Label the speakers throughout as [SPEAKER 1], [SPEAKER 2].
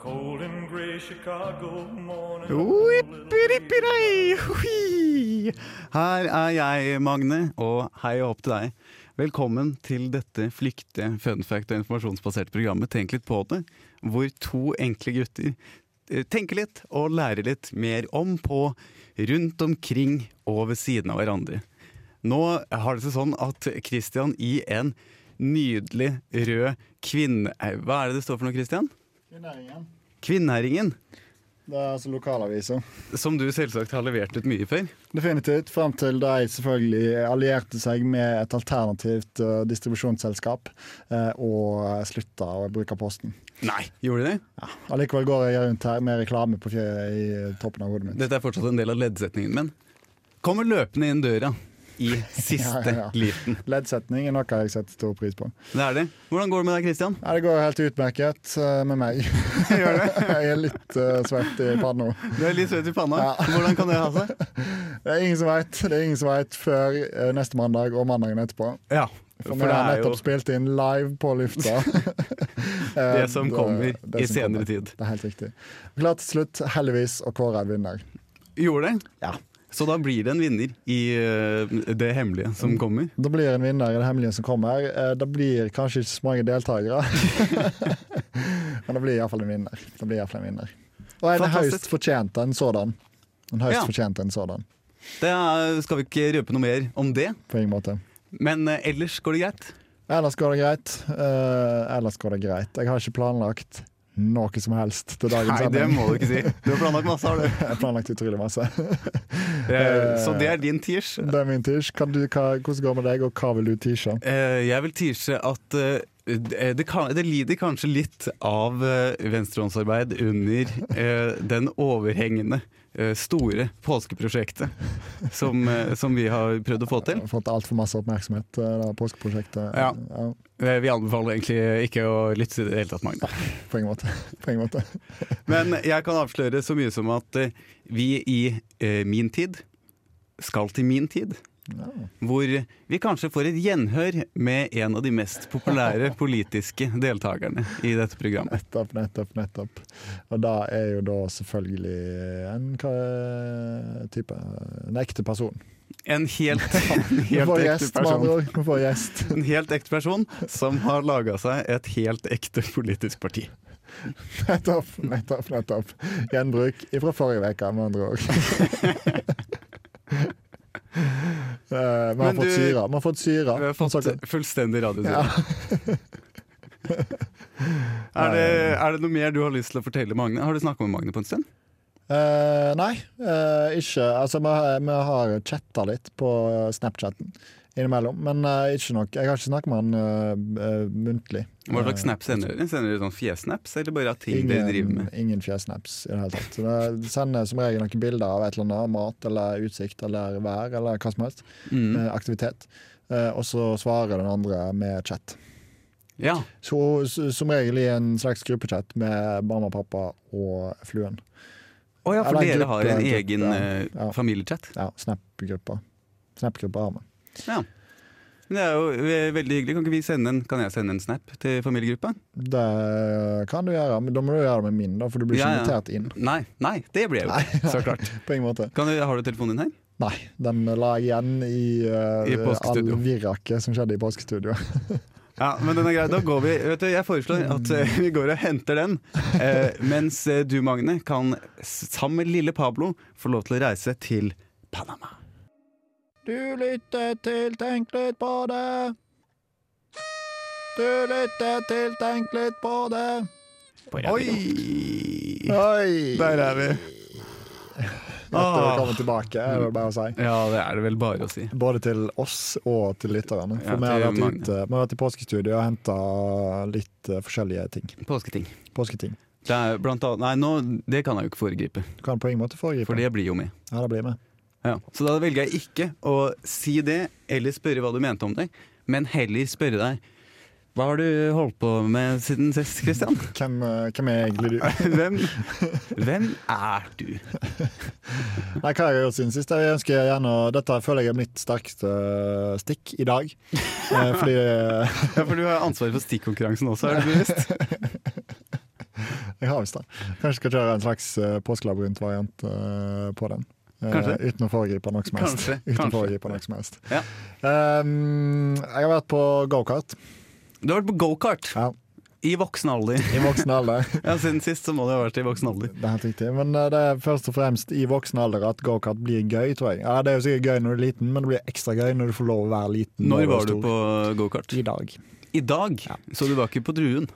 [SPEAKER 1] cold and gray Chicago morning.
[SPEAKER 2] Whippirippirei! Hui! Her er jeg, Magne, og hei og hopp til deg. Velkommen til dette flyktige, fun fact- og informasjonsbaserte programmet Tenk litt på det, hvor to enkle gutter eh, tenker litt og lærer litt mer om på, rundt omkring og ved siden av hverandre. Nå har det seg sånn at Christian i en nydelig rød kvinne... eh, Hva er det det står for noe, Christian?
[SPEAKER 3] Kvinneringen.
[SPEAKER 2] Kvinnæringen,
[SPEAKER 3] Det er altså lokalaviser.
[SPEAKER 2] som du selvsagt har levert ut mye før.
[SPEAKER 3] Definitivt. Fram til de selvfølgelig allierte seg med et alternativt eh, distribusjonsselskap eh, og slutta å bruke Posten.
[SPEAKER 2] Nei. Gjorde de det?
[SPEAKER 3] Allikevel går jeg rundt her med reklame på fjø i toppen av hodet mitt.
[SPEAKER 2] Dette er fortsatt en del av leddsetningen min. Kommer løpende inn døra i siste
[SPEAKER 3] Ja, ja.
[SPEAKER 2] liten.
[SPEAKER 3] Leddsetning er noe jeg setter stor pris på.
[SPEAKER 2] Det er det. Hvordan går det med deg, Christian?
[SPEAKER 3] Ja, det går helt utmerket eh, med meg. jeg er litt eh, svett i panna.
[SPEAKER 2] Du er litt søt i panna.
[SPEAKER 3] Ja.
[SPEAKER 2] Hvordan kan det ha seg?
[SPEAKER 3] Det er ingen som veit. Det er ingen som vet før eh, neste mandag og mandagen etterpå.
[SPEAKER 2] Ja,
[SPEAKER 3] For, vi har Sånn nettopp spilt inn live på lufta.
[SPEAKER 2] det som kommer i senere tid.
[SPEAKER 3] Det er helt riktig. Klart til slutt, heldigvis, å kåre en vinner.
[SPEAKER 2] Gjorde det? Så da blir det en vinner i eh, det hemmelige
[SPEAKER 3] Mm.
[SPEAKER 2] som kommer.
[SPEAKER 3] Da blir det en vinner i det hemmelige som kommer. Eh, Det blir kanskje ikke så mange deltakere, men det blir iallfall en vinner. Det blir i hvert fall en vinner. Og en
[SPEAKER 2] Fantastisk.
[SPEAKER 3] høyst fortjent en sådan. En høyst
[SPEAKER 2] Ja.
[SPEAKER 3] fortjent en sådan,
[SPEAKER 2] Det er, skal vi ikke røpe noe mer om det,
[SPEAKER 3] på ingen måte.
[SPEAKER 2] men eh, ellers går det greit.
[SPEAKER 3] Ellers går det greit. Eh, ellers går det greit. Jeg har ikke planlagt noe som helst til dagens
[SPEAKER 2] Nei, det
[SPEAKER 3] sending.
[SPEAKER 2] må du ikke si. Du har planlagt masse, har du.
[SPEAKER 3] Jeg har planlagt utrolig masse.
[SPEAKER 2] Eh, Så det er din tirsj.
[SPEAKER 3] Det er min tirsj. Kan du, hva, hvordan går det med deg, og hva vil du tirsje?
[SPEAKER 2] Eh, jeg vil tisje at eh, det, kan, det lider kanskje litt av eh, venstrehåndsarbeid under eh, den overhengende eh, store påskeprosjektet som, eh, som vi har prøvd å få til.
[SPEAKER 3] Jeg har Fått altfor masse oppmerksomhet, eh, det påskeprosjektet.
[SPEAKER 2] Ja.
[SPEAKER 3] Ja,
[SPEAKER 2] Eh, vi anbefaler egentlig ikke å lytte til det i det hele tatt, Magne.
[SPEAKER 3] på ingen måte. På ingen måte.
[SPEAKER 2] Men jeg kan avsløre så mye som at eh, vi i eh, min tid skal til min tid. Hvor vi kanskje får et gjenhør med en av de mest populære politiske deltakerne i dette programmet.
[SPEAKER 3] Nettopp, nettopp, nettopp. Og da er jo da selvfølgelig en hva- type En ekte person.
[SPEAKER 2] En helt, en
[SPEAKER 3] Vi
[SPEAKER 2] helt
[SPEAKER 3] får
[SPEAKER 2] ekte
[SPEAKER 3] gjest, med andre
[SPEAKER 2] person.
[SPEAKER 3] ord. Vi får gjest.
[SPEAKER 2] En helt ekte person som har laga seg et helt ekte politisk parti.
[SPEAKER 3] Nettopp, nettopp, nettopp. Gjenbruk fra forrige uke, med andre ord. Eh, Vi har
[SPEAKER 2] Men
[SPEAKER 3] fått
[SPEAKER 2] du-
[SPEAKER 3] syre. Vi har fått syre.
[SPEAKER 2] Vi har fått
[SPEAKER 3] Sånn-
[SPEAKER 2] fullstendig
[SPEAKER 3] ja.
[SPEAKER 2] radiotur. Er, det, er det noe mer du har lyst til å fortelle Magne? Har du snakka med Magne på en stund?
[SPEAKER 3] Eh, nei, eh, ikke. Altså, vi, har- vi har chatta litt på Snapchatten innimellom, men eh, ikke nok. Jeg har ikke snakket med han eh, eh, muntlig.
[SPEAKER 2] Hva slags snaps sender dere? Sender dere sånn fjesnaps, eller bare av ting dere driver med?
[SPEAKER 3] ingen fjesnaps i det hele tatt. Det sender som regel noen bilder av et eller annet. Mat eller utsikt eller vær eller hva som helst.
[SPEAKER 2] Mm.
[SPEAKER 3] eh, aktivitet. Eh, og så svarer den andre med chat.
[SPEAKER 2] Ja.
[SPEAKER 3] Så, s- som regel i en slags gruppechat med mamma, pappa og fluen.
[SPEAKER 2] Å ja, for
[SPEAKER 3] Eller en
[SPEAKER 2] dere har
[SPEAKER 3] gruppe,
[SPEAKER 2] en
[SPEAKER 3] en gruppe,
[SPEAKER 2] egen
[SPEAKER 3] ja.
[SPEAKER 2] eh,
[SPEAKER 3] Ja.
[SPEAKER 2] familiechat.
[SPEAKER 3] Ja, Snap-gruppa. Snap-gruppa har vi.
[SPEAKER 2] Ja. Men det er jo eh, veldig hyggelig. Kan, ikke vi sende en, kan jeg sende en snap til familiegruppa?
[SPEAKER 3] Det kan du gjøre, men da må du gjøre det med min, da, for du blir ikke
[SPEAKER 2] Ja, ja.
[SPEAKER 3] invitert inn.
[SPEAKER 2] Nei, nei, det ble jeg jo ikke. Så klart.
[SPEAKER 3] På ingen måte.
[SPEAKER 2] Kan du, har du telefonen din her?
[SPEAKER 3] Nei, den la jeg igjen i, uh,
[SPEAKER 2] I påskestudio.
[SPEAKER 3] all virraket som skjedde i påskestudio.
[SPEAKER 2] Ja, men den er grei. Da går vi, vet du, jeg foreslår at eh, vi går og henter den, eh, mens eh, du, Magne, kan s- sammen med lille Pablo få lov til å reise til Panama.
[SPEAKER 3] Du lytter til Tenk litt på det. Du lytter til Tenk litt på det.
[SPEAKER 2] Oi!
[SPEAKER 3] Oi!
[SPEAKER 2] Der er vi. Ah.
[SPEAKER 3] Etter å komme tilbake, er det bare å si.
[SPEAKER 2] Ja, det er det vel bare å si.
[SPEAKER 3] Både til oss og til lytterne.
[SPEAKER 2] Ja,
[SPEAKER 3] For vi, har
[SPEAKER 2] til
[SPEAKER 3] vært
[SPEAKER 2] Magne.
[SPEAKER 3] ute, vi har vært i påskestudio og henta litt eh, forskjellige ting.
[SPEAKER 2] Påsketing.
[SPEAKER 3] Påsketing.
[SPEAKER 2] Det er blant annet, nei, nå, det kan jeg jo ikke foregripe,
[SPEAKER 3] Du kan på ingen måte foregripe.
[SPEAKER 2] for det blir jo med.
[SPEAKER 3] Ja, det blir med.
[SPEAKER 2] Ja. Så da velger jeg ikke å si det, eller spørre hva du mente om det, men heller spørre deg Hva har du holdt på med siden sist, Christian?
[SPEAKER 3] Hvem, eh, hvem er egentlig du?
[SPEAKER 2] Hvem, hvem er du?
[SPEAKER 3] Nei, hva har jeg gjort siden sist? Jeg ønsker gjerne å- Dette føler jeg er mitt sterkeste stikk i dag. Eh, Fordi eh,
[SPEAKER 2] Ja, for du har ansvaret for stikkonkurransen også, er du bevisst?
[SPEAKER 3] Jeg har visst det. Kanskje skal kjøre en slags uh, påskelabyrintvariant eh, på den. Eh,
[SPEAKER 2] Kanskje.
[SPEAKER 3] uten å foregripe noe som helst.
[SPEAKER 2] Kanskje,
[SPEAKER 3] Uten
[SPEAKER 2] kanskje.
[SPEAKER 3] å foregripe noe som helst.
[SPEAKER 2] Ja.
[SPEAKER 3] Ehm, jeg har vært på gokart
[SPEAKER 2] Du har vært på gokart
[SPEAKER 3] ja,
[SPEAKER 2] i voksen alder.
[SPEAKER 3] i voksen alder.
[SPEAKER 2] Ja, Siden sist så må du ha vært i voksen alder.
[SPEAKER 3] Det er helt riktig. Men eh, det er først og fremst i voksen alder at gokart blir gøy, tror jeg. Ja, Det er jo sikkert gøy når du er liten, men det blir ekstra gøy når du får lov å være liten.
[SPEAKER 2] Når
[SPEAKER 3] og
[SPEAKER 2] var du
[SPEAKER 3] stor.
[SPEAKER 2] på gokart?
[SPEAKER 3] I dag.
[SPEAKER 2] I dag,
[SPEAKER 3] Ja.
[SPEAKER 2] så du var ikke på Druen.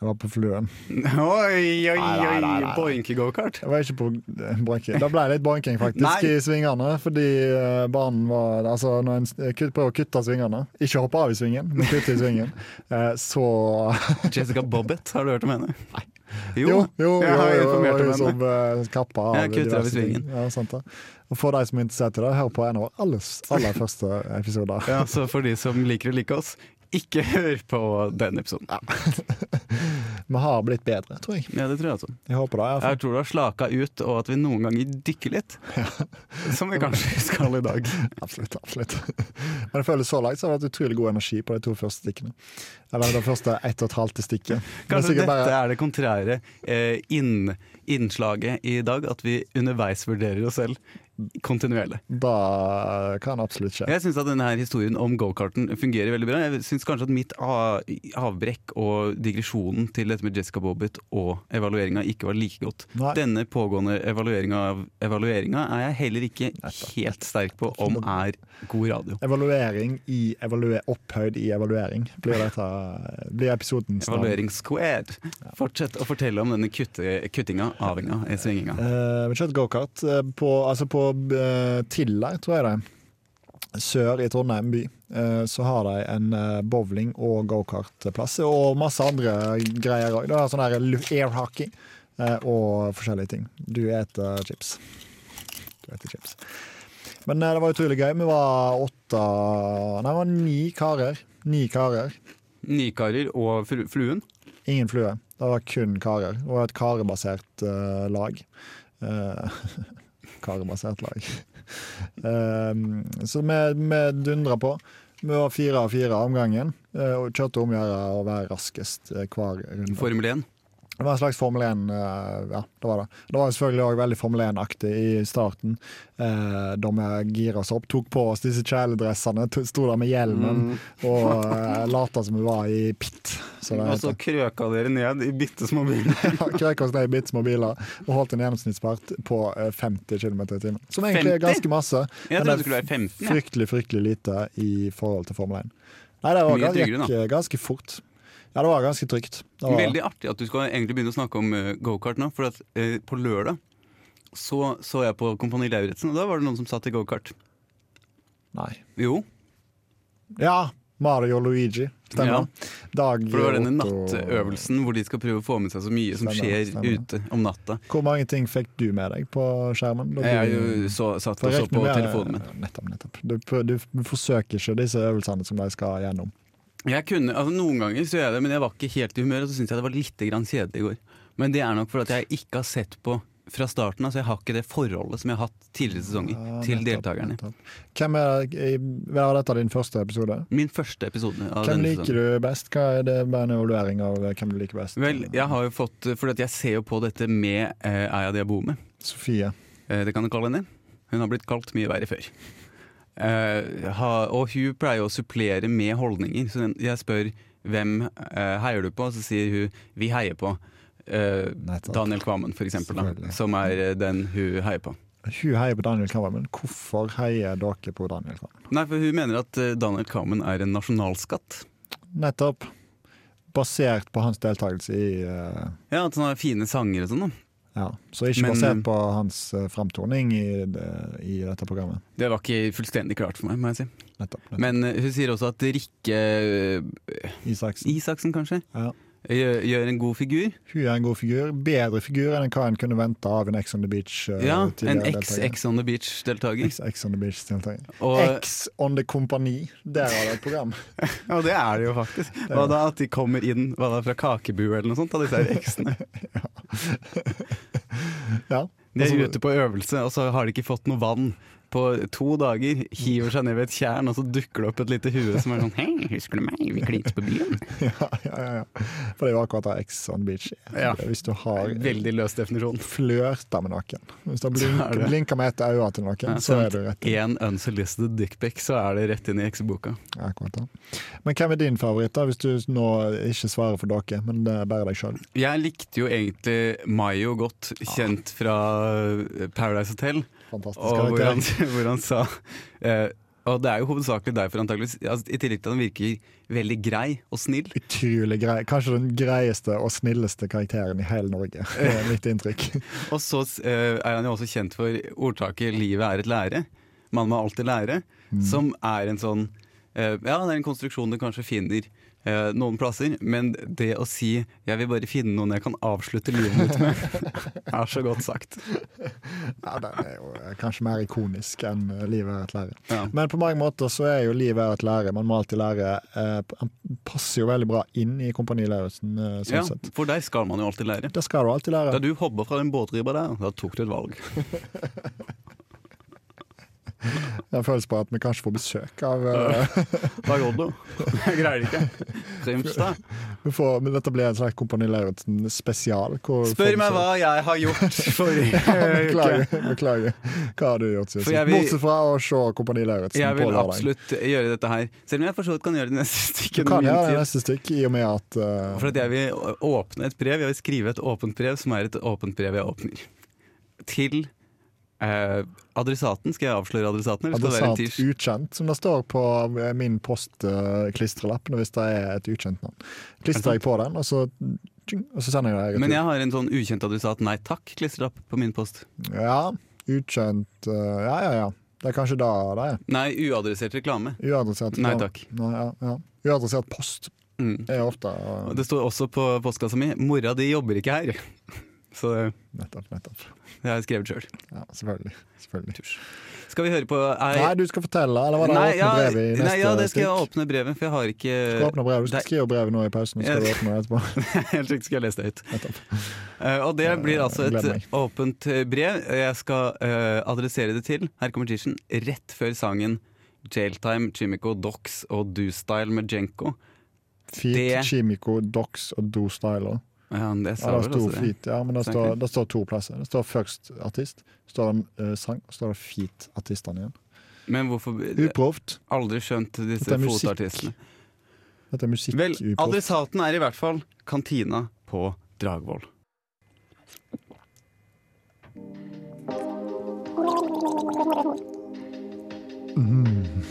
[SPEAKER 3] Jeg var på Fløen.
[SPEAKER 2] Oi, oi,
[SPEAKER 3] Nei, nei, nei, nei.
[SPEAKER 2] Boinke-gokart.
[SPEAKER 3] Jeg var ikke på eh, boinking. Da ble det litt boinking faktisk
[SPEAKER 2] Nei.
[SPEAKER 3] i svingene. Fordi eh, banen var Altså, når en s- kutt- prøver å kutte svingene, ikke hoppe av i svingen, men kutte i svingen, eh, så
[SPEAKER 2] Jessica Bobbett, har du hørt om henne? Nei. Jo,
[SPEAKER 3] Jo, jo,
[SPEAKER 2] jeg har
[SPEAKER 3] jo, jo,
[SPEAKER 2] informert
[SPEAKER 3] jo,
[SPEAKER 2] om henne.
[SPEAKER 3] som eh, kappa av
[SPEAKER 2] Jeg kutter av i
[SPEAKER 3] diverse ting. Ja, sant det. Og for de som er interessert i det, hør på en av våre aller, aller første episoder.
[SPEAKER 2] Ja, så for de som liker å like oss, ikke hør på den episoden.
[SPEAKER 3] Vi har blitt bedre, tror jeg.
[SPEAKER 2] Ja, det tror jeg altså.
[SPEAKER 3] Jeg håper det. i hvert fall.
[SPEAKER 2] Jeg tror du har slaka ut, og at vi noen ganger dykker litt. Som vi kanskje skal i dag.
[SPEAKER 3] Absolutt. absolutt. Men jeg føler så langt så har det vært utrolig god energi på de to første stikkene. Eller det første ett og et halvt stikket. Men
[SPEAKER 2] Kanskje
[SPEAKER 3] sikkert
[SPEAKER 2] dette
[SPEAKER 3] bare-
[SPEAKER 2] er det kontrære eh, inn, innslaget i dag, at vi underveis vurderer oss selv kontinuerlig.
[SPEAKER 3] Da kan absolutt skje.
[SPEAKER 2] Jeg syns at denne her historien om gokarten fungerer veldig bra. Jeg syns kanskje at mitt a- avbrekk og digresjonen til dette med Jessica Bobbitt og evalueringa ikke var like godt.
[SPEAKER 3] Nei.
[SPEAKER 2] Denne pågående evalueringa av evalueringa er jeg heller ikke helt sterk på om er god radio.
[SPEAKER 3] Evaluering i evalue, opphøyd i evaluering blir, dette, blir episodens navn.
[SPEAKER 2] Evaluering squared. Fortsett å fortelle om denne kutte, kuttinga, avinga, eh, svinginga.
[SPEAKER 3] Eh, Vi kjørte gokart eh, på, altså på eh, Tiller, tror jeg det er. Sør i Trondheim by. eh, Så har de en eh, bowling- og gokartplass, og masse andre greier òg. Sånn der lu- air hockey eh, og forskjellige ting. Du eter chips. Du eter chips. Men eh, det var utrolig gøy. Vi var åtte Nei, det var ni karer. Ni karer.
[SPEAKER 2] Nykarer og fru- fluen.
[SPEAKER 3] Ingen flue. Det var kun karer. Det var et karebasert eh, lag. Eh, karebasert lag. Eh, så vi, vi dundra på. Vi var fire av fire om gangen. eh, og kjørte om å gjøre å være raskest eh, hver runde.
[SPEAKER 2] Formel 1.
[SPEAKER 3] Det var en slags Formel 1, eh, ja, det var det. Det var selvfølgelig også veldig Formel 1-aktig i starten. eh, Da vi gira oss opp, tok på oss disse kjeledressene, to- sto der med
[SPEAKER 2] Mm.
[SPEAKER 3] hjelmen og eh, lata som vi var i pit. så det
[SPEAKER 2] Og så
[SPEAKER 3] heter.
[SPEAKER 2] Altså, krøka dere ned i bitte små biler.
[SPEAKER 3] Krøk oss ned i bitte små biler og holdt en gjennomsnittsfart på eh, 50 km i timen. Som egentlig er
[SPEAKER 2] 50?
[SPEAKER 3] ganske masse,
[SPEAKER 2] Jeg
[SPEAKER 3] Men
[SPEAKER 2] trodde
[SPEAKER 3] det
[SPEAKER 2] det skulle være 15. jeg.
[SPEAKER 3] fryktelig fryktelig lite i forhold til Formel 1. Nei, det var,
[SPEAKER 2] Mye
[SPEAKER 3] det
[SPEAKER 2] tryggere,
[SPEAKER 3] gikk eh, ganske fort. Ja, det var ganske trygt. Det var,
[SPEAKER 2] Veldig artig at du skal egentlig begynne å snakke om eh, gokart nå. For at eh, på lørdag så, så jeg på Kompani Lauritzen, og da var det noen som satt i gokart.
[SPEAKER 3] Nei.
[SPEAKER 2] Jo,
[SPEAKER 3] Ja, Mario og Luigi.
[SPEAKER 2] Ja.
[SPEAKER 3] Stemmer. Dag
[SPEAKER 2] for det var denne
[SPEAKER 3] Otto.
[SPEAKER 2] nattøvelsen hvor de skal prøve å få med seg så mye som
[SPEAKER 3] Stemmer,
[SPEAKER 2] skjer
[SPEAKER 3] stemmer.
[SPEAKER 2] ute om natta.
[SPEAKER 3] Hvor mange ting fikk du med deg på skjermen? Da
[SPEAKER 2] Jeg er
[SPEAKER 3] du-
[SPEAKER 2] jo så, satt og
[SPEAKER 3] For
[SPEAKER 2] så
[SPEAKER 3] jeg regner
[SPEAKER 2] på
[SPEAKER 3] med-
[SPEAKER 2] telefonen min.
[SPEAKER 3] Nettopp. nettopp. Du, prø- du forsøker ikke disse øvelsene som de skal gjennom.
[SPEAKER 2] Jeg kunne, altså Noen ganger så gjør jeg det, men jeg var ikke helt i humør, og så syns jeg det var litt grann kjedelig i går. Men det er nok fordi at jeg ikke har sett på fra starten av, så jeg har ikke det forholdet som jeg har hatt tidligere sesonger
[SPEAKER 3] Ja,
[SPEAKER 2] til
[SPEAKER 3] nettopp,
[SPEAKER 2] deltakerne.
[SPEAKER 3] nettopp. Hvem er, er dette din første episode?
[SPEAKER 2] Min første episode av
[SPEAKER 3] Hvem
[SPEAKER 2] denne
[SPEAKER 3] liker
[SPEAKER 2] sesongen.
[SPEAKER 3] du best? Hva er det bare en evaluering av eh, hvem du liker best?
[SPEAKER 2] Vel, jeg har jo fått Fordi at jeg ser jo på dette med eh, Aya Diabome.
[SPEAKER 3] Sofie.
[SPEAKER 2] Eh, det kan du kalle henne. Hun har blitt kalt mye verre før. Eh, ha, og hun pleier å supplere med holdninger. Så den- jeg spør hvem eh, heier du på, og så sier hun 'vi heier på'. Eh,
[SPEAKER 3] Nettopp.
[SPEAKER 2] Daniel Kvammen, for eksempel, da,
[SPEAKER 3] Selvfølgelig.
[SPEAKER 2] som er eh, den hun heier på.
[SPEAKER 3] Hun heier på Daniel Kammerman. Hvorfor heier dere på Daniel Kammerman?
[SPEAKER 2] Nei, for hun mener at eh, Daniel Kvammen er en nasjonalskatt.
[SPEAKER 3] Nettopp. Basert på hans deltakelse i eh,
[SPEAKER 2] Ja, At han har fine sanger og sånn. da.
[SPEAKER 3] Ja. Så ikke
[SPEAKER 2] Men-
[SPEAKER 3] basert på hans eh, framtoning i, det- i dette programmet.
[SPEAKER 2] Det var ikke fullstendig klart for meg, må jeg si.
[SPEAKER 3] Nettopp. nettopp.
[SPEAKER 2] Men eh, hun sier også at Rikke eh,
[SPEAKER 3] Isaksen.
[SPEAKER 2] Isaksen, kanskje?
[SPEAKER 3] Ja.
[SPEAKER 2] Gjør, gjør en god figur.
[SPEAKER 3] Hun er en god figur. Bedre figur enn hva en kunne vente av en Ex on the Beach. eh,
[SPEAKER 2] Ja, En
[SPEAKER 3] tidligere
[SPEAKER 2] ex
[SPEAKER 3] deltaker.
[SPEAKER 2] Ex on the Beach-deltaker.
[SPEAKER 3] Ex- Ex on the Beach-deltaker.
[SPEAKER 2] Og,
[SPEAKER 3] Ex on the Kompani. Der var det et program.
[SPEAKER 2] ja, det er det jo faktisk. Hva da at de kommer inn hva da, fra kakebue eller noe sånt, av disse her eksene.
[SPEAKER 3] Ja.
[SPEAKER 2] De
[SPEAKER 3] Altså,
[SPEAKER 2] er ute på øvelse, og så har de ikke fått noe vann. på to dager hiver seg ned ved et tjern, og så dukker det opp et lite hue som er sånn Hei, husker du meg? Vi klinte på byen.
[SPEAKER 3] Ja, ja, ja. For det er jo akkurat det Ex on Beach er.
[SPEAKER 2] Ja.
[SPEAKER 3] Hvis du har
[SPEAKER 2] Veldig løs definisjon.
[SPEAKER 3] flørta med noen, hvis du har blink,
[SPEAKER 2] Så er det-
[SPEAKER 3] blinka med ett øye til noen, så er du rett i
[SPEAKER 2] Én sånn unsolicited dickpic, så er det rett inn i ekseboka.
[SPEAKER 3] akkurat det. Men hvem er din favoritt, da, hvis du nå ikke svarer for dere, men det er bare deg sjøl?
[SPEAKER 2] Jeg likte jo egentlig Mayo godt, kjent fra eh, Paradise Hotel.
[SPEAKER 3] Fantastisk
[SPEAKER 2] Og hvor han,
[SPEAKER 3] karakter.
[SPEAKER 2] hvor han sa eh, Og det er jo hovedsakelig derfor, antakeligvis. Altså, I tillegg til at han virker veldig grei og snill.
[SPEAKER 3] Utrolig grei. Kanskje den greieste og snilleste karakteren i hele Norge. Det er mitt inntrykk.
[SPEAKER 2] Og så eh, er han jo også kjent for ordtaket 'livet er et lære'. Man må alltid lære.
[SPEAKER 3] Mm.
[SPEAKER 2] Som er en sånn eh, Ja, det er en konstruksjon du kanskje finner eh, noen plasser, men det å si 'jeg vil bare finne noen jeg kan avslutte livet mitt med', er så godt sagt.
[SPEAKER 3] Ja, den er jo eh, kanskje mer ikonisk enn eh, 'Livet er et lære'.
[SPEAKER 2] Ja.
[SPEAKER 3] Men på mange måter så er jo 'Livet er et lære'. Man må alltid lære. eh, Han passer jo veldig bra inn i Kompani Lauritzen, eh, sånn
[SPEAKER 2] Ja,
[SPEAKER 3] sett.
[SPEAKER 2] for der skal man jo alltid lære.
[SPEAKER 3] Det skal du alltid
[SPEAKER 2] Da
[SPEAKER 3] lære.
[SPEAKER 2] du hoppa fra den båtribba der, da tok du et valg.
[SPEAKER 3] Jeg føles på at vi kanskje får besøk av eh,
[SPEAKER 2] Hva gjorde du? Jeg greier det ikke. Grimstad.
[SPEAKER 3] vi får, men Dette blir en slags Kompani Lauritzen-spesial. hvor
[SPEAKER 2] Spør
[SPEAKER 3] folk
[SPEAKER 2] meg
[SPEAKER 3] sier-
[SPEAKER 2] hva jeg har gjort forrige uke.
[SPEAKER 3] Beklager. beklager. Hva har du gjort,
[SPEAKER 2] For
[SPEAKER 3] Susi?
[SPEAKER 2] jeg vil-
[SPEAKER 3] Bortsett fra å se Kompani Lauritzen
[SPEAKER 2] Jeg
[SPEAKER 3] på
[SPEAKER 2] vil
[SPEAKER 3] lørdag.
[SPEAKER 2] absolutt gjøre dette her. Selv om jeg for så vidt kan gjøre det neste
[SPEAKER 3] Du
[SPEAKER 2] stykket. med
[SPEAKER 3] kan
[SPEAKER 2] min
[SPEAKER 3] gjøre det
[SPEAKER 2] tid.
[SPEAKER 3] neste stikk, i og med at eh,
[SPEAKER 2] For at jeg vil å- åpne et brev. Jeg vil skrive et åpent brev som er et åpent brev jeg åpner. Til eh, adressaten. Skal jeg avsløre adressaten? Eller skal det være en
[SPEAKER 3] Adressat
[SPEAKER 2] tirsdag?
[SPEAKER 3] ukjent, som det står på eh, min postklistrellapp hvis det er et ukjent navn. Klistrer jeg på den, og så, tjing, og så sender jeg det
[SPEAKER 2] Men
[SPEAKER 3] rett ut.
[SPEAKER 2] jeg har en sånn ukjent adressat nei takk klistrelapp på min post.
[SPEAKER 3] Ja, ukjent eh, Ja, ja, ja. Det er kanskje da det er.
[SPEAKER 2] Nei, uadressert reklame.
[SPEAKER 3] Uadressert
[SPEAKER 2] Nei takk.
[SPEAKER 3] Nei, ja, ja. Uadressert post
[SPEAKER 2] Mm.
[SPEAKER 3] er ofte
[SPEAKER 2] Og
[SPEAKER 3] eh,
[SPEAKER 2] Det står også på postkassa mi 'mora di jobber ikke her'. Så det
[SPEAKER 3] Nettopp, nettopp.
[SPEAKER 2] det har jeg skrevet sjøl.
[SPEAKER 3] Ja, selvfølgelig. selvfølgelig.
[SPEAKER 2] Skal vi høre på ei-
[SPEAKER 3] Nei, du skal fortelle, eller var det
[SPEAKER 2] Nei,
[SPEAKER 3] åpne
[SPEAKER 2] ja,
[SPEAKER 3] brevet i neste
[SPEAKER 2] nei, ja, det skal jeg
[SPEAKER 3] stikk?
[SPEAKER 2] åpne brevet, for jeg har ikke
[SPEAKER 3] Du skal åpne brevet. Du skal
[SPEAKER 2] Nei.
[SPEAKER 3] skrive brevet nå i pausen, så skal du
[SPEAKER 2] Ja.
[SPEAKER 3] åpne det etterpå.
[SPEAKER 2] Helt riktig skal jeg lese det høyt.
[SPEAKER 3] Nettopp.
[SPEAKER 2] Eh, og det blir altså
[SPEAKER 3] gleder meg.
[SPEAKER 2] et åpent eh, brev. Jeg skal eh, adressere det til, her kommer teasen, rett før sangen Jailtime, Chimico, Dox og Do-Style med Jenko.
[SPEAKER 3] Feet,
[SPEAKER 2] Det-
[SPEAKER 3] Chimico, Dox og Do Styler.
[SPEAKER 2] Ja, det
[SPEAKER 3] Ja,
[SPEAKER 2] sa vel
[SPEAKER 3] det står
[SPEAKER 2] altså det.
[SPEAKER 3] feat, ja, men det
[SPEAKER 2] Så
[SPEAKER 3] står,
[SPEAKER 2] egentlig-
[SPEAKER 3] det står to plasser. Det står først artist, så står det en eh, sang, og så står det feat-artistene igjen.
[SPEAKER 2] Men hvorfor
[SPEAKER 3] Uproft.
[SPEAKER 2] Aldri skjønt
[SPEAKER 3] Dette
[SPEAKER 2] disse
[SPEAKER 3] er musikk.
[SPEAKER 2] fotartistene.
[SPEAKER 3] Dette er musikk
[SPEAKER 2] Vel,
[SPEAKER 3] uproft.
[SPEAKER 2] adressaten er i hvert fall kantina på Dragvoll. Mm.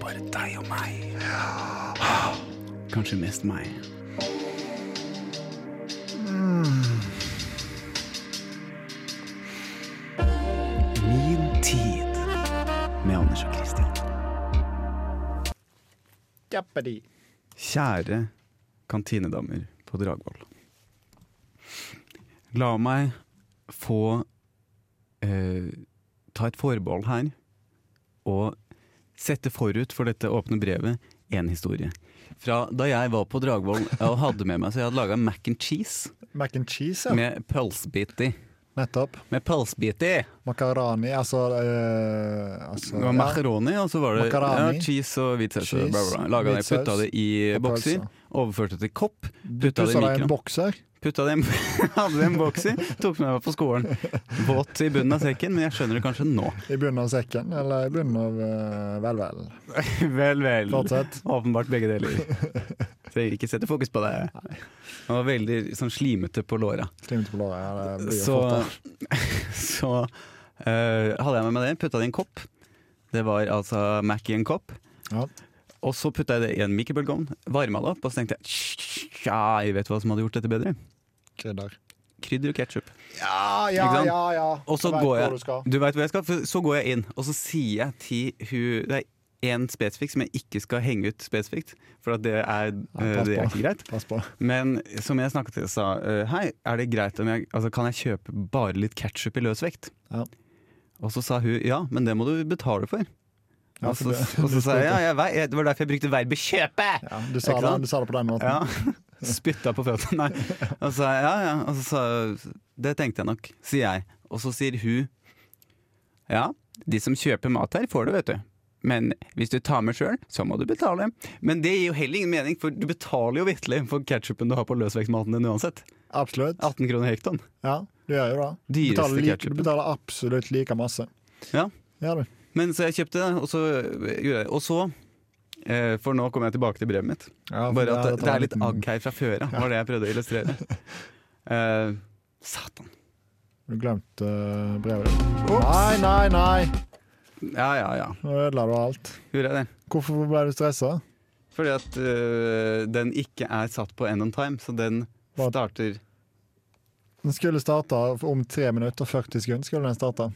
[SPEAKER 2] Bare deg og meg. Kanskje mest meg. Mm. Min tid med Anders og Christian.
[SPEAKER 3] Jeopardy.
[SPEAKER 2] Kjære kantinedamer på Dragvoll. La meg få eh, ta et forbehold her og sette forut for dette åpne brevet en historie. Fra da jeg var på Dragvoll og hadde med meg så jeg hadde laga mac and cheese
[SPEAKER 3] Mac and cheese, ja.
[SPEAKER 2] med pølsebit i.
[SPEAKER 3] Nettopp.
[SPEAKER 2] Med pølsebit i!
[SPEAKER 3] Makarani, altså, eh, altså
[SPEAKER 2] Det var makaroni, og så var det ja,
[SPEAKER 3] Makaroni.
[SPEAKER 2] cheese og hvit saus.
[SPEAKER 3] Cheese,
[SPEAKER 2] bla, bla, bla. Laga det,
[SPEAKER 3] hvit saus
[SPEAKER 2] putta det i
[SPEAKER 3] og
[SPEAKER 2] bokser,
[SPEAKER 3] pølse.
[SPEAKER 2] overførte det til kopp,
[SPEAKER 3] Du
[SPEAKER 2] putta det i
[SPEAKER 3] pusser deg
[SPEAKER 2] mikroen.
[SPEAKER 3] en bokser.
[SPEAKER 2] Putta det i en- hadde det i en boks i, tok med meg på skolen. Våt i bunnen av sekken, men jeg skjønner det kanskje nå.
[SPEAKER 3] I bunnen av sekken, eller i bunnen av eh, Vel, vel.
[SPEAKER 2] Vel, vel.
[SPEAKER 3] Fortsett.
[SPEAKER 2] Åpenbart begge deler. Trenger ikke sette fokus på det. Han var veldig sånn slimete på låra.
[SPEAKER 3] Slimete på låret. Ja, det blir jo
[SPEAKER 2] Så,
[SPEAKER 3] flott, da.
[SPEAKER 2] så eh, hadde jeg med meg det, putta det i en kopp. Det var altså Mac i en kopp.
[SPEAKER 3] Ja.
[SPEAKER 2] Og så putta jeg det i en mikrobølgeovn, varma det opp, og så tenkte jeg Tja, jeg vet hva som hadde gjort dette bedre.
[SPEAKER 3] Krydder.
[SPEAKER 2] Krydder og ketsjup.
[SPEAKER 3] Ja,
[SPEAKER 2] Ikke
[SPEAKER 3] ja,
[SPEAKER 2] sant?
[SPEAKER 3] ja, ja.
[SPEAKER 2] Og så
[SPEAKER 3] Jeg vet
[SPEAKER 2] går
[SPEAKER 3] hvor
[SPEAKER 2] jeg,
[SPEAKER 3] du skal.
[SPEAKER 2] du vet hvor jeg skal, for så går jeg inn, og så sier jeg til hun Det er én spesifikk som jeg ikke skal henge ut spesifikt, for at det er, eh,
[SPEAKER 3] pass
[SPEAKER 2] det er
[SPEAKER 3] på.
[SPEAKER 2] ikke greit.
[SPEAKER 3] Pass på.
[SPEAKER 2] Men som jeg snakket til, sa eh, Hei, er det greit om jeg altså, Kan jeg kjøpe bare litt ketsjup i løs vekt?
[SPEAKER 3] Ja.
[SPEAKER 2] Og så sa hun ja, men det må du betale for. og,
[SPEAKER 3] Ja,
[SPEAKER 2] så,
[SPEAKER 3] for det-
[SPEAKER 2] og så sa jeg ja, jeg, vei- det var derfor jeg brukte verbet 'kjøpe'!
[SPEAKER 3] Ja, du, sa
[SPEAKER 2] Ikke
[SPEAKER 3] det,
[SPEAKER 2] sant?
[SPEAKER 3] du sa det på den måten.
[SPEAKER 2] Ja. Spytta på føttene. Nei. Og så sa jeg ja, ja. Og så sa jeg, det tenkte jeg nok, sier jeg.
[SPEAKER 4] Og så sier hun
[SPEAKER 2] Ja,
[SPEAKER 4] de som kjøper mat her, får det, vet du. Men hvis du tar med sjøl, så må du betale. Men det gir jo heller ingen mening, for du betaler jo vitterlig for ketsjupen du har på løsvekstmaten din uansett.
[SPEAKER 3] Absolutt.
[SPEAKER 4] 18 kroner hekton.
[SPEAKER 3] Ja, du gjør jo det. Du
[SPEAKER 4] Dyreste
[SPEAKER 3] betaler, like,
[SPEAKER 4] ketchupen.
[SPEAKER 3] du betaler absolutt like masse.
[SPEAKER 2] Ja.
[SPEAKER 3] Gjør du.
[SPEAKER 2] Men så jeg kjøpte det, og så gjorde jeg det. Og så eh, For nå kommer jeg tilbake til brevet mitt.
[SPEAKER 3] Ja, for
[SPEAKER 2] Bare at
[SPEAKER 3] dette
[SPEAKER 2] det
[SPEAKER 3] var
[SPEAKER 2] er litt
[SPEAKER 3] en liten-
[SPEAKER 2] agg her fra før av, var det jeg prøvde å illustrere. Eh, satan.
[SPEAKER 3] Du glemte eh, brevet ditt. Nei, nei, nei!
[SPEAKER 2] Ja, ja, ja.
[SPEAKER 3] Nå ødela du alt.
[SPEAKER 2] Gjorde jeg det?
[SPEAKER 3] Hvorfor ble du stressa?
[SPEAKER 2] Fordi at eh, den ikke er satt på end on time, så den
[SPEAKER 3] Hva?
[SPEAKER 2] starter
[SPEAKER 3] Den skulle starta om 3 minutter og 40 sekunder. skulle den starta.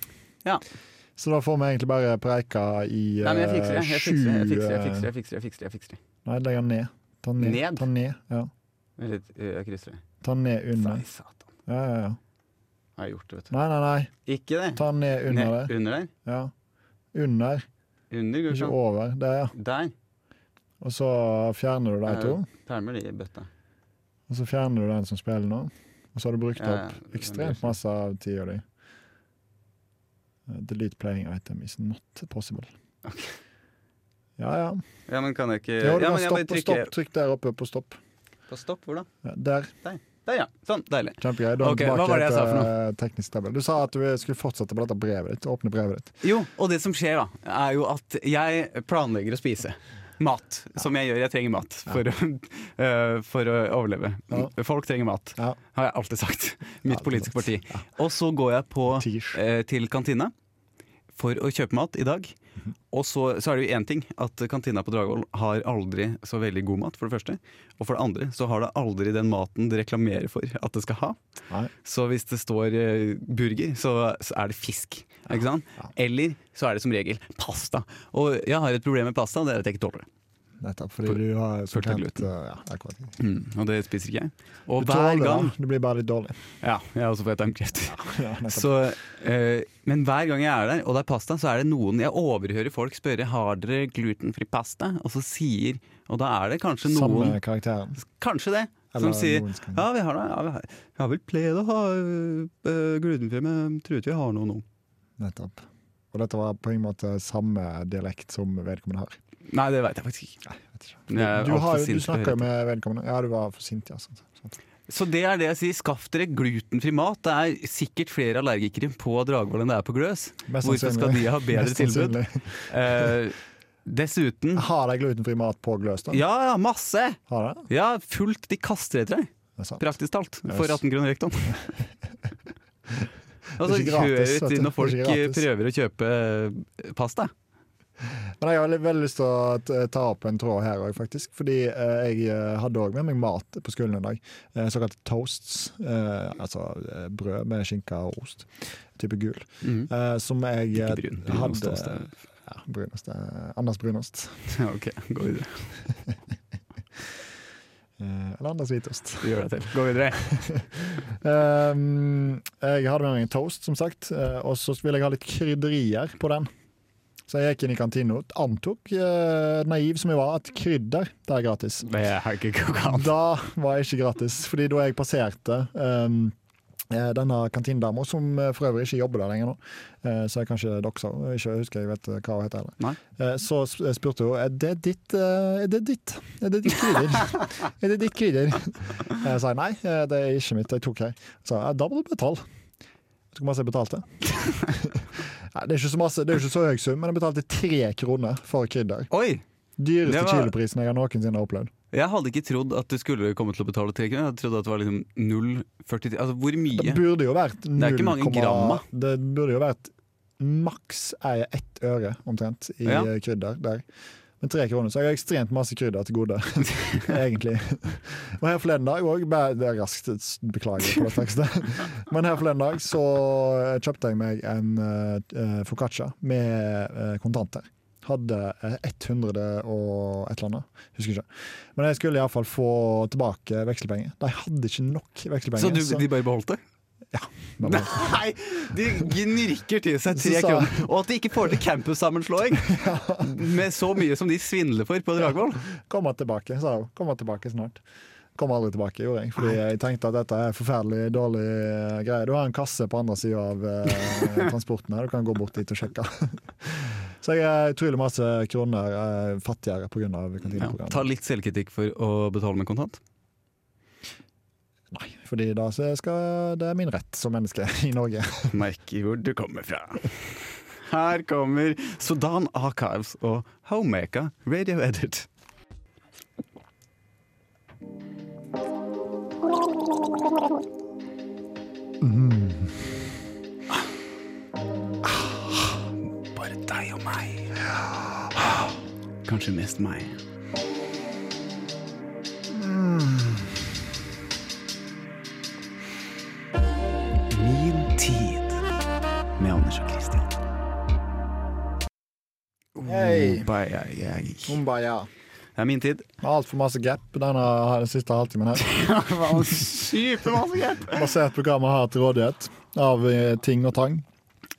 [SPEAKER 2] Ja.
[SPEAKER 3] Så da får vi egentlig bare preika i
[SPEAKER 2] Nei, men jeg fikser det. Jeg
[SPEAKER 3] eh,
[SPEAKER 2] fikser det. Jeg
[SPEAKER 3] sju,
[SPEAKER 2] fikser det. Jeg
[SPEAKER 3] eh,
[SPEAKER 2] fikser det. Jeg fikser det. Jeg fikser det. Jeg fikser det.
[SPEAKER 3] Nei, legg den ned. Ta den ned.
[SPEAKER 2] Ned?
[SPEAKER 3] Ta den ned, ja.
[SPEAKER 2] Vent litt, eh, Jeg krysser det.
[SPEAKER 3] Ta den ned under.
[SPEAKER 2] Nei, satan.
[SPEAKER 3] Ja, ja, ja.
[SPEAKER 2] Har jeg gjort det, vet
[SPEAKER 3] Nei, nei, nei.
[SPEAKER 2] du. Ikke det.
[SPEAKER 3] Ta den ned under
[SPEAKER 2] Ned-
[SPEAKER 3] det.
[SPEAKER 2] Under der.
[SPEAKER 3] Ja. Under,
[SPEAKER 2] Under, går det
[SPEAKER 3] ikke
[SPEAKER 2] sånn.
[SPEAKER 3] over. Der, ja.
[SPEAKER 2] Der.
[SPEAKER 3] Og så fjerner du de to.
[SPEAKER 2] Permer de i bøtta.
[SPEAKER 3] Og så fjerner du den som spiller nå. Og så har du brukt
[SPEAKER 2] Ja, ja.
[SPEAKER 3] opp ekstremt masse av tida di. Eh, Delete playing item is not possible. Ja, ja.
[SPEAKER 2] Ja, men kan jeg ikke
[SPEAKER 3] Jo, du
[SPEAKER 2] Eh, Ja,
[SPEAKER 3] kan
[SPEAKER 2] men jeg bare
[SPEAKER 3] stopp,
[SPEAKER 2] trykker
[SPEAKER 3] stopp. Trykk der oppe på stopp.
[SPEAKER 2] på stopp. Hvor da?
[SPEAKER 3] Ja, der.
[SPEAKER 2] Der, ja. Sånn. Deilig.
[SPEAKER 3] Kjempegreier. Da er
[SPEAKER 2] Ok,
[SPEAKER 3] vi
[SPEAKER 2] hva var
[SPEAKER 3] tilbake
[SPEAKER 2] det jeg sa for
[SPEAKER 3] til eh, teknisk tabell. Du sa at du skulle fortsette på dette brevet ditt. Åpne brevet ditt.
[SPEAKER 2] Jo, og det som skjer da, er jo at jeg planlegger å spise mat, som jeg gjør. Jeg trenger mat for, å, øh, for å overleve.
[SPEAKER 3] Ja.
[SPEAKER 2] Folk trenger mat,
[SPEAKER 3] Ja.
[SPEAKER 2] har jeg alltid sagt. Mitt
[SPEAKER 3] Alltid
[SPEAKER 2] politiske
[SPEAKER 3] sagt.
[SPEAKER 2] parti. Og så går jeg på,
[SPEAKER 3] Tirsj.
[SPEAKER 2] eh, til kantina for å kjøpe mat i dag.
[SPEAKER 3] Mhm.
[SPEAKER 2] Og så, så er det jo én ting at kantina på Dragvoll har aldri så veldig god mat, for det første. Og for det andre så har det aldri den maten det reklamerer for at det skal ha.
[SPEAKER 3] Nei.
[SPEAKER 2] Så hvis det står eh, burger, så, så er det fisk. Ikke sant? Eller så er det som regel pasta. Og jeg har et problem med pasta, det er at jeg ikke tåler det.
[SPEAKER 3] Nettopp, fordi du har som
[SPEAKER 2] Fullt av
[SPEAKER 3] kjent
[SPEAKER 2] gluten.
[SPEAKER 3] eh, Ja, akkurat.
[SPEAKER 2] Og det spiser ikke jeg.
[SPEAKER 3] Mm. Du
[SPEAKER 2] Og
[SPEAKER 3] tåler
[SPEAKER 2] hver
[SPEAKER 3] det,
[SPEAKER 2] gang
[SPEAKER 3] Du blir bare litt dårlig.
[SPEAKER 2] Ja, jeg har også fått tarmkreft.
[SPEAKER 3] Ja, nettopp.
[SPEAKER 2] Så, eh, men hver gang jeg er der, og det er pasta, så er det noen jeg overhører folk spørre Har dere glutenfri pasta, og så sier Og da er det kanskje noen
[SPEAKER 3] Samme karakteren.
[SPEAKER 2] Kanskje det.
[SPEAKER 3] Eller
[SPEAKER 2] som sier
[SPEAKER 3] noen skal-
[SPEAKER 2] Ja, vi har det. Ja, vi har. Jeg har vel pleid å ha øh, glutenfri, men tror ikke jeg har noe nå.
[SPEAKER 3] Nettopp. Og dette var på en måte samme dialekt som vedkommende har.
[SPEAKER 2] Nei, det veit jeg faktisk ikke.
[SPEAKER 3] Nei, jeg vet ikke.
[SPEAKER 2] Jeg er
[SPEAKER 3] Du,
[SPEAKER 2] Eh, alt for
[SPEAKER 3] har, jo-
[SPEAKER 2] sint til
[SPEAKER 3] du
[SPEAKER 2] å høre
[SPEAKER 3] snakker jo med vedkommende. Ja, du var for sint, ja. Sant, sant.
[SPEAKER 2] Så det er det jeg sier. Skaff dere glutenfri mat. Det er sikkert flere allergikere på Dragvoll enn det er på Gløs.
[SPEAKER 3] Mest
[SPEAKER 2] Hvorfor skal
[SPEAKER 3] sannsynlig.
[SPEAKER 2] de ha bedre
[SPEAKER 3] Mest
[SPEAKER 2] tilbud?
[SPEAKER 3] sannsynlig.
[SPEAKER 2] Eh, dessuten
[SPEAKER 3] Har de glutenfri mat på Gløs, da?
[SPEAKER 2] Ja, ja, masse!
[SPEAKER 3] Har de?
[SPEAKER 2] Ja, fullt. De kaster etter deg,
[SPEAKER 3] Det er sant.
[SPEAKER 2] praktisk talt. For
[SPEAKER 3] Yes.
[SPEAKER 2] 18 kroner rekton. Altså,
[SPEAKER 3] ikke
[SPEAKER 2] hør
[SPEAKER 3] gratis, vet
[SPEAKER 2] ut
[SPEAKER 3] du.
[SPEAKER 2] når folk eh,
[SPEAKER 3] Det er ikke gratis.
[SPEAKER 2] prøver å kjøpe eh, pasta.
[SPEAKER 3] Men jeg har litt- veldig lyst til å t- ta opp en tråd her òg, faktisk. Fordi eh, jeg eh, hadde òg med meg mat på skolen en dag. Eh, Såkalte toasts. Eh, altså eh, brød med skinke og ost. Type gul.
[SPEAKER 2] Mhm.
[SPEAKER 3] Eh, som jeg eh,
[SPEAKER 2] Ikke brun. Brunost
[SPEAKER 3] hadde-
[SPEAKER 2] også, det er-
[SPEAKER 3] Ja, brunost. eh, Anders Brunost.
[SPEAKER 2] Ja, ok, gå videre.
[SPEAKER 3] Eh, eller Anders Hvitost.
[SPEAKER 2] Du gjør deg til. Gå videre.
[SPEAKER 3] Ehm, jeg hadde med meg en toast, som sagt, eh, og så ville jeg ha litt krydderier på den. Så jeg gikk inn i kantina og antok, eh, naiv som jeg var, at krydder det er gratis.
[SPEAKER 2] Det er ikke kokan.
[SPEAKER 3] Da var jeg ikke gratis, fordi da jeg passerte ehm, eh, denne kantinedama, som eh, for øvrig ikke jobber der lenger nå, eh, så jeg kanskje doksa, ikke husker jeg vet hva hun heter heller.
[SPEAKER 2] Nei.
[SPEAKER 3] Eh, Så sp- spurte hun er det ditt eh, Er det ditt Er det ditt krydder? Er det ditt krydder? Jeg sa nei, eh, det er ikke mitt, jeg tok her. Jeg sa ja, da må du betale. Vet du hvor masse jeg betalte? Nei, det er ikke så masse, det er ikke så høy sum, men jeg betalte tre kroner for krydder.
[SPEAKER 2] Oi!
[SPEAKER 3] Dyreste
[SPEAKER 2] Det var-
[SPEAKER 3] kiloprisen jeg har noensinne har opplevd.
[SPEAKER 2] Jeg hadde ikke trodd at du skulle komme til å betale tre kroner. Jeg hadde trodd at det var liksom 0,43 Altså hvor
[SPEAKER 3] Det
[SPEAKER 2] mye?
[SPEAKER 3] burde jo vært
[SPEAKER 2] er ikke mange
[SPEAKER 3] 0,1
[SPEAKER 2] gram, da.
[SPEAKER 3] Det burde jo vært maks ei- ett øre, omtrent, i
[SPEAKER 2] Ja.
[SPEAKER 3] eh, krydder der. Men tre kroner, så jeg har ekstremt masse krydder til gode, egentlig. Og her forleden dag òg Det er raskt, s- beklager på det tekste. Men her forleden dag så eh, kjøpte jeg meg en uh, foccaccia med eh, kontanter. Hadde eh, 100 og et eller annet, husker ikke. Men jeg skulle iallfall få tilbake vekslepenger. De hadde ikke nok vekslepenger.
[SPEAKER 2] Så du,
[SPEAKER 3] så-
[SPEAKER 2] de bare beholdt det?
[SPEAKER 3] Bare bare-
[SPEAKER 2] Nei! De gnirker til seg
[SPEAKER 3] Så
[SPEAKER 2] tre
[SPEAKER 3] sa-
[SPEAKER 2] kroner. Og at de ikke får til campussammenslåing med så mye som de svindler for på Dragvoll.
[SPEAKER 3] Kommer tilbake, sa hun. Kommer tilbake snart. Kom aldri tilbake, gjorde jeg. Fordi jeg tenkte at dette er forferdelig dårlig eh, greie. Du har en kasse på andre sida av eh, transporten her, du kan gå bort dit og sjekke. Så jeg er utrolig masse kroner eh, fattigere pga.
[SPEAKER 2] Ja. Ta
[SPEAKER 3] kantineprogrammet.
[SPEAKER 2] litt selvkritikk for å betale med kontant.
[SPEAKER 3] Nei, fordi da så skal, det er min rett som menneske i Norge.
[SPEAKER 2] Merk hvor du kommer fra. Her kommer Sudan Archives og Homemaker Radio Edit. Mm. Bare deg og meg. Kanskje mest meg. Min tid med Anders og Christian.
[SPEAKER 3] Hei.
[SPEAKER 2] Oh, bye, yeah, yeah.
[SPEAKER 3] Mumbaya.
[SPEAKER 2] Det er min tid.
[SPEAKER 3] Altfor masse gap denne den siste halvtimen her.
[SPEAKER 2] Supermasse hjelp!
[SPEAKER 3] Basert på hva vi har til rådighet av eh, ting og tang.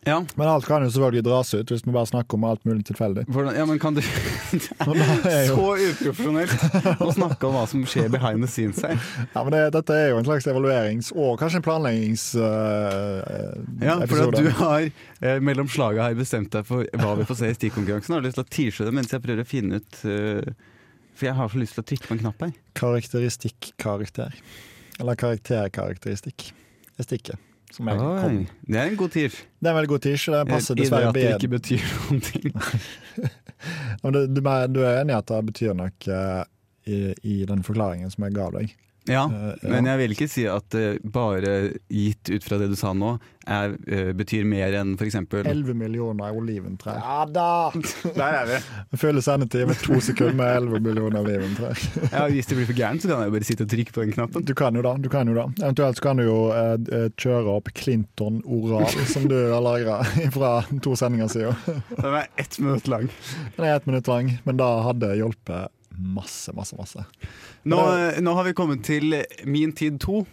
[SPEAKER 2] Ja,
[SPEAKER 3] Men alt kan jo selvfølgelig dras ut hvis vi bare snakker om alt mulig tilfeldig.
[SPEAKER 2] hvordan, ja, men kan du Det
[SPEAKER 3] Og da er
[SPEAKER 2] er
[SPEAKER 3] jo,
[SPEAKER 2] så uprofesjonelt å snakke om hva som skjer behind the scenes her.
[SPEAKER 3] ja, men det, dette er jo en slags evaluerings- og kanskje en eh, planleggingsepisode.
[SPEAKER 2] Ja, for at du har eh, mellom slaga her bestemt deg for hva vi får se i stikkonkurransen. Har du lyst til å tease det mens jeg prøver å finne ut eh, For jeg har så lyst til å trykke på en knapp her.
[SPEAKER 3] Karakteristikk-karakter. Eller karakterkarakteristikk. Estikke. Som jeg kom.
[SPEAKER 2] Oi, Det er en god tease.
[SPEAKER 3] Det er en veldig god tirsj. Det passer
[SPEAKER 2] I det
[SPEAKER 3] dessverre
[SPEAKER 2] at det
[SPEAKER 3] bedre.
[SPEAKER 2] ikke betyr noen ting.
[SPEAKER 3] Ja, men Du, du, er- du er enig i at det betyr nok eh, i, i den forklaringen som jeg ga deg?
[SPEAKER 2] Ja,
[SPEAKER 3] Eh, ja.
[SPEAKER 2] men jeg vil ikke si at eh, bare gitt ut fra det du sa nå, er, eh, betyr mer enn for eksempel
[SPEAKER 3] 11 millioner oliventrær.
[SPEAKER 2] Der er vi.
[SPEAKER 3] Full sendetid med to sekunder med 11 millioner oliventrær.
[SPEAKER 2] Ja, hvis det blir for gærent, så kan jeg jo bare sitte og trykke på den knappen.
[SPEAKER 3] Du kan jo da, du kan jo da. Eventuelt så kan du jo eh, eh, kjøre opp Clinton Oral, som du har lagra fra to sendinger siden.
[SPEAKER 2] Den er ett minutt lang.
[SPEAKER 3] Den er ett minutt lang, men da hadde det hjulpet masse, masse, masse.
[SPEAKER 2] Nå, eh, nå har vi kommet til Min tid 2.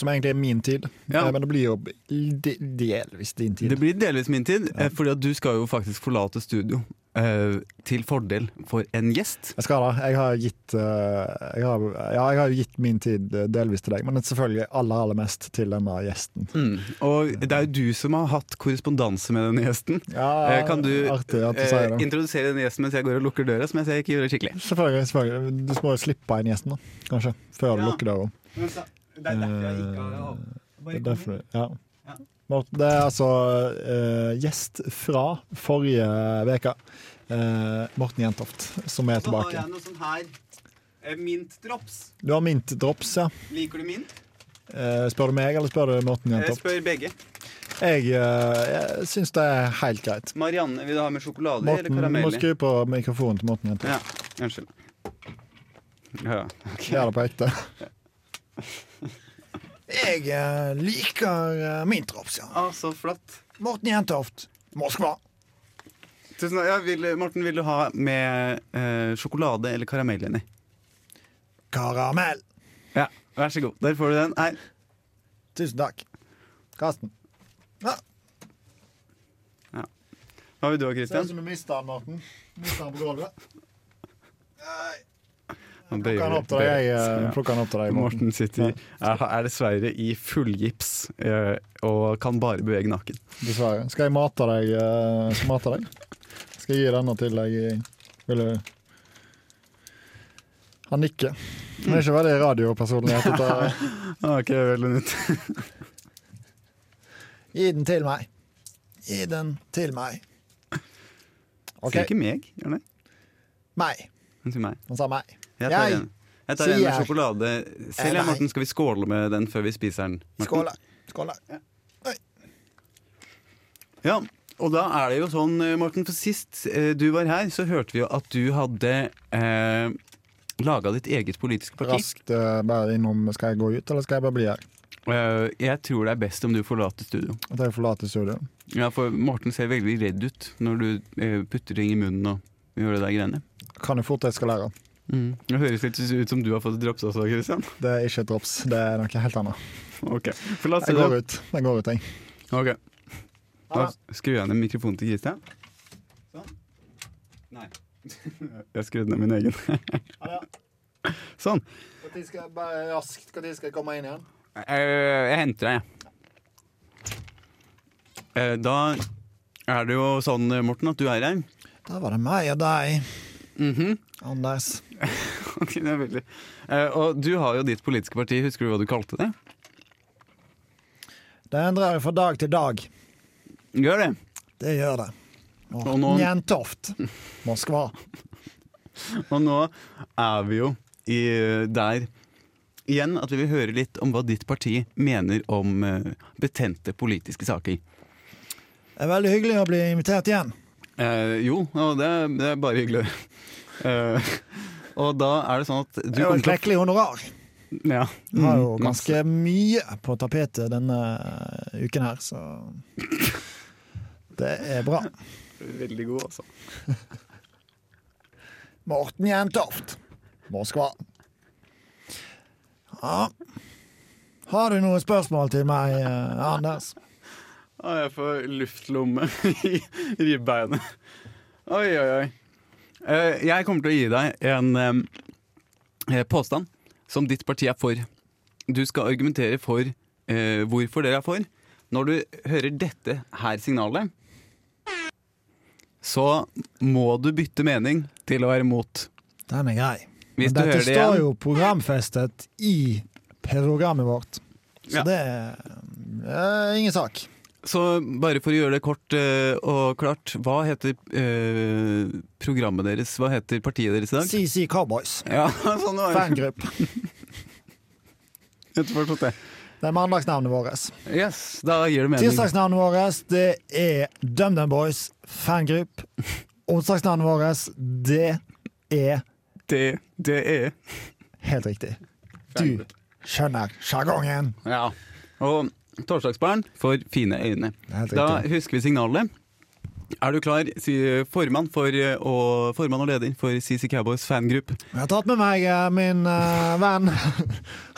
[SPEAKER 3] Som egentlig er min tid,
[SPEAKER 2] Ja.
[SPEAKER 3] eh, men det blir jo de- delvis din tid.
[SPEAKER 2] Det blir delvis min tid, eh, fordi at du skal jo faktisk forlate studio eh, til fordel for en gjest.
[SPEAKER 3] Jeg skal da. Jeg har gitt, eh, jeg har, ja, jeg har jo gitt min tid eh, delvis til deg, men selvfølgelig aller, aller mest til denne gjesten.
[SPEAKER 2] Og det er jo du som har hatt korrespondanse med denne gjesten. Eh, Kan du,
[SPEAKER 3] Artig at du
[SPEAKER 2] eh,
[SPEAKER 3] sier det.
[SPEAKER 2] introdusere denne gjesten mens jeg går og lukker døra, som jeg ser jeg ikke gjorde skikkelig?
[SPEAKER 3] Selvfølgelig. selvfølgelig. Du må jo slippe inn gjesten, da, kanskje, før du
[SPEAKER 2] Ja.
[SPEAKER 3] lukker døra.
[SPEAKER 2] Det
[SPEAKER 3] er derfor jeg ikke har- Eh, Det er
[SPEAKER 2] Derfor.
[SPEAKER 3] derfor, ja.
[SPEAKER 2] Ja.
[SPEAKER 3] Morten, Det er altså eh, gjest fra forrige uke, eh, Morten Jentoft, som er tilbake.
[SPEAKER 2] noe sånn her. Mintdrops.
[SPEAKER 3] Du har mint drops, ja.
[SPEAKER 2] Liker du mint? Eh,
[SPEAKER 3] Eh, spør du meg, eller spør du Morten Jentoft?
[SPEAKER 2] begge.
[SPEAKER 3] Jeg, eh, jeg syns det er helt greit.
[SPEAKER 2] Marianne, vil du ha med sjokolade
[SPEAKER 3] Morten, du må skru på mikrofonen til Morten Jentoft.
[SPEAKER 2] Ja, unnskyld. Ja.
[SPEAKER 3] Gjør det på ekte. Jeg eh, liker eh, mint drops, ja.
[SPEAKER 2] Ah, så flott.
[SPEAKER 3] Morten Jentoft, Moskva.
[SPEAKER 2] Tusen takk. Ja, vil, Morten, vil du ha med eh, sjokolade eller karamell inni?
[SPEAKER 3] Karamell.
[SPEAKER 2] Ja, vær så god. Der får du den. Her.
[SPEAKER 3] Tusen takk. Karsten. Ja.
[SPEAKER 2] Hva vil du ha,
[SPEAKER 3] Ser ut
[SPEAKER 2] Christian?
[SPEAKER 3] som du mista den, Morten. Mista den på gulvet.
[SPEAKER 2] Han bøyer-
[SPEAKER 3] Plukka den opp til deg,
[SPEAKER 2] bøyer.
[SPEAKER 3] eh,
[SPEAKER 2] Ja.
[SPEAKER 3] plukka den opp til deg Morten.
[SPEAKER 2] Morten sitter, er, er dessverre i fullgips eh, og kan bare bevege nakken.
[SPEAKER 3] Dessverre. Skal jeg mate deg? eh, Skal jeg mate deg? Skal jeg gi denne til deg? i- Vil du Han nikker. Han er ikke veldig radiopersonlighet. dette.
[SPEAKER 2] Ah, ok, vel og nytt.
[SPEAKER 3] Gi den til meg. Gi den til meg.
[SPEAKER 2] Sier ikke meg, gjør han det?
[SPEAKER 3] Meg.
[SPEAKER 2] Han sier meg.
[SPEAKER 3] Han sa meg.
[SPEAKER 2] Jeg tar
[SPEAKER 3] Jeg
[SPEAKER 2] en, jeg tar en med
[SPEAKER 3] sier-
[SPEAKER 2] sjokolade.
[SPEAKER 3] Eh,
[SPEAKER 2] Selv
[SPEAKER 3] nei.
[SPEAKER 2] jeg, Morten, skal vi skåle med den før vi spiser den? Morten?
[SPEAKER 3] Skål.
[SPEAKER 2] Ja, og da er det jo sånn, eh, Morten, for sist eh, du var her, så hørte vi jo at du hadde eh, laga ditt eget politiske parti.
[SPEAKER 3] Raskt eh, bare innom. Skal jeg gå ut, eller skal jeg bare bli her?
[SPEAKER 2] Eh, jeg tror det er best om du forlater studio.
[SPEAKER 3] At jeg forlater studio.
[SPEAKER 2] Ja, for Morten ser veldig redd ut når du eh, putter ting i munnen og gjør det der greiene.
[SPEAKER 3] Kan jo fort eskalere. Mm.
[SPEAKER 2] Det høres litt ut som du har fått drops også, Christian.
[SPEAKER 3] Det er ikke et drops, det er noe helt annet.
[SPEAKER 2] Ok, forlat
[SPEAKER 3] Jeg går
[SPEAKER 2] studio.
[SPEAKER 3] ut. Jeg går ut, jeg.
[SPEAKER 2] Ok,
[SPEAKER 3] Ha
[SPEAKER 2] Da
[SPEAKER 3] det.
[SPEAKER 2] skrur jeg ned mikrofonen til Christian. Sånn. Nei. jeg skrudde ned min egen. sånn.
[SPEAKER 5] Når skal, jeg- bare raskt, når skal jeg komme inn igjen?
[SPEAKER 4] Eh, jeg henter deg, jeg.
[SPEAKER 2] Eh, Da er det jo sånn, eh, Morten, at du er her.
[SPEAKER 3] Da var det meg og deg,
[SPEAKER 2] Mhm.
[SPEAKER 3] Anders.
[SPEAKER 2] Ok, det er veldig. Eh, Og du har jo ditt politiske parti. Husker du hva du kalte det?
[SPEAKER 3] Det endrer jeg fra dag til dag.
[SPEAKER 2] Gjør det.
[SPEAKER 3] Det gjør det. Og,
[SPEAKER 2] Og nå-
[SPEAKER 3] Jentoft. Moskva.
[SPEAKER 2] Og nå er vi jo i, eh, der igjen at vi vil høre litt om hva ditt parti mener om eh, betente politiske saker.
[SPEAKER 3] Det er veldig hyggelig å bli invitert igjen.
[SPEAKER 2] Eh, jo, og det, er- det er bare hyggelig. Eh, og da er det sånn at du
[SPEAKER 3] Det er jo
[SPEAKER 2] kommer
[SPEAKER 3] et
[SPEAKER 2] til å
[SPEAKER 3] klekkelig honorar.
[SPEAKER 2] ja.
[SPEAKER 3] Vi har jo
[SPEAKER 2] Mm, masse.
[SPEAKER 3] ganske mye på tapetet denne eh, uken her, så Det er bra.
[SPEAKER 2] Veldig god, altså.
[SPEAKER 3] Morten Jentoft, Moskva. Ja. Har du noen spørsmål til meg, eh, Anders?
[SPEAKER 2] Å, jeg får luftlomme i ribbeinet. Oi, oi, oi. Eh, Jeg kommer til å gi deg en eh, påstand som ditt parti er for. Du skal argumentere for eh, hvorfor dere er for. Når du hører dette her signalet, så må du bytte mening til å være mot.
[SPEAKER 3] Den er grei.
[SPEAKER 2] Hvis
[SPEAKER 3] Men
[SPEAKER 2] du
[SPEAKER 3] dette
[SPEAKER 2] hører det
[SPEAKER 3] står
[SPEAKER 2] igjen.
[SPEAKER 3] jo programfestet i programmet vårt, så
[SPEAKER 2] Ja.
[SPEAKER 3] det, er, det er ingen sak.
[SPEAKER 2] Så bare for å gjøre det kort eh, og klart, hva heter eh, programmet deres? Hva heter partiet deres i dag?
[SPEAKER 3] CC Cowboys,
[SPEAKER 2] Ja, sånn var det.
[SPEAKER 3] fangrupp.
[SPEAKER 2] Etter forstått det.
[SPEAKER 3] Det er mandagsnavnet vårt.
[SPEAKER 2] Yes, da gir det mening.
[SPEAKER 3] Tirsdagsnavnet vårt det er DumDum Boys, fangrupp. Onsdagsnavnet vårt det er
[SPEAKER 2] Det, det er
[SPEAKER 3] helt riktig. Du skjønner sjargongen.
[SPEAKER 2] Ja. Og torsdagsbarn får fine øyne.
[SPEAKER 3] Det er helt
[SPEAKER 2] Da
[SPEAKER 3] riktig.
[SPEAKER 2] husker vi signalet. Er du klar, sier formann, for, eh, og, formann og leder for CC Cowboys fangruppe.
[SPEAKER 3] Jeg har tatt med meg eh, min eh, venn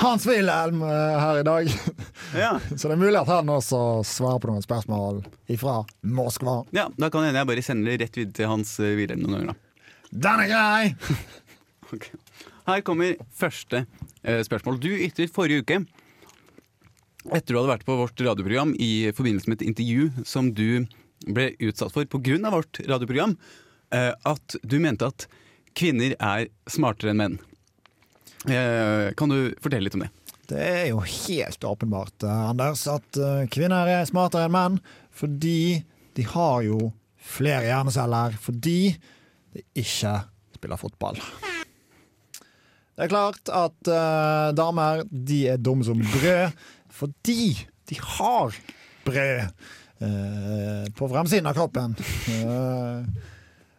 [SPEAKER 3] Hans Wilhelm eh, her i dag.
[SPEAKER 2] Ja.
[SPEAKER 3] Så det er mulig at han også svarer på noen spørsmål ifra Moskva.
[SPEAKER 2] ja, da kan det hende jeg bare sender det rett videre til Hans eh, Wilhelm noen ganger, da.
[SPEAKER 3] Den er grei!
[SPEAKER 2] Ok. Her kommer første eh, spørsmål. Du ytret forrige uke, etter du hadde vært på vårt radioprogram i forbindelse med et intervju som du ble utsatt for pga. vårt radioprogram, eh, at du mente at kvinner er smartere enn menn. Eh, kan du fortelle litt om det?
[SPEAKER 3] Det er jo helt åpenbart, eh, Anders, at eh, kvinner er smartere enn menn fordi de har jo flere hjerneceller fordi de ikke spiller fotball. Det er klart at eh, damer de er dumme som brød fordi de har brød eh, på fremsiden av kroppen. Eh,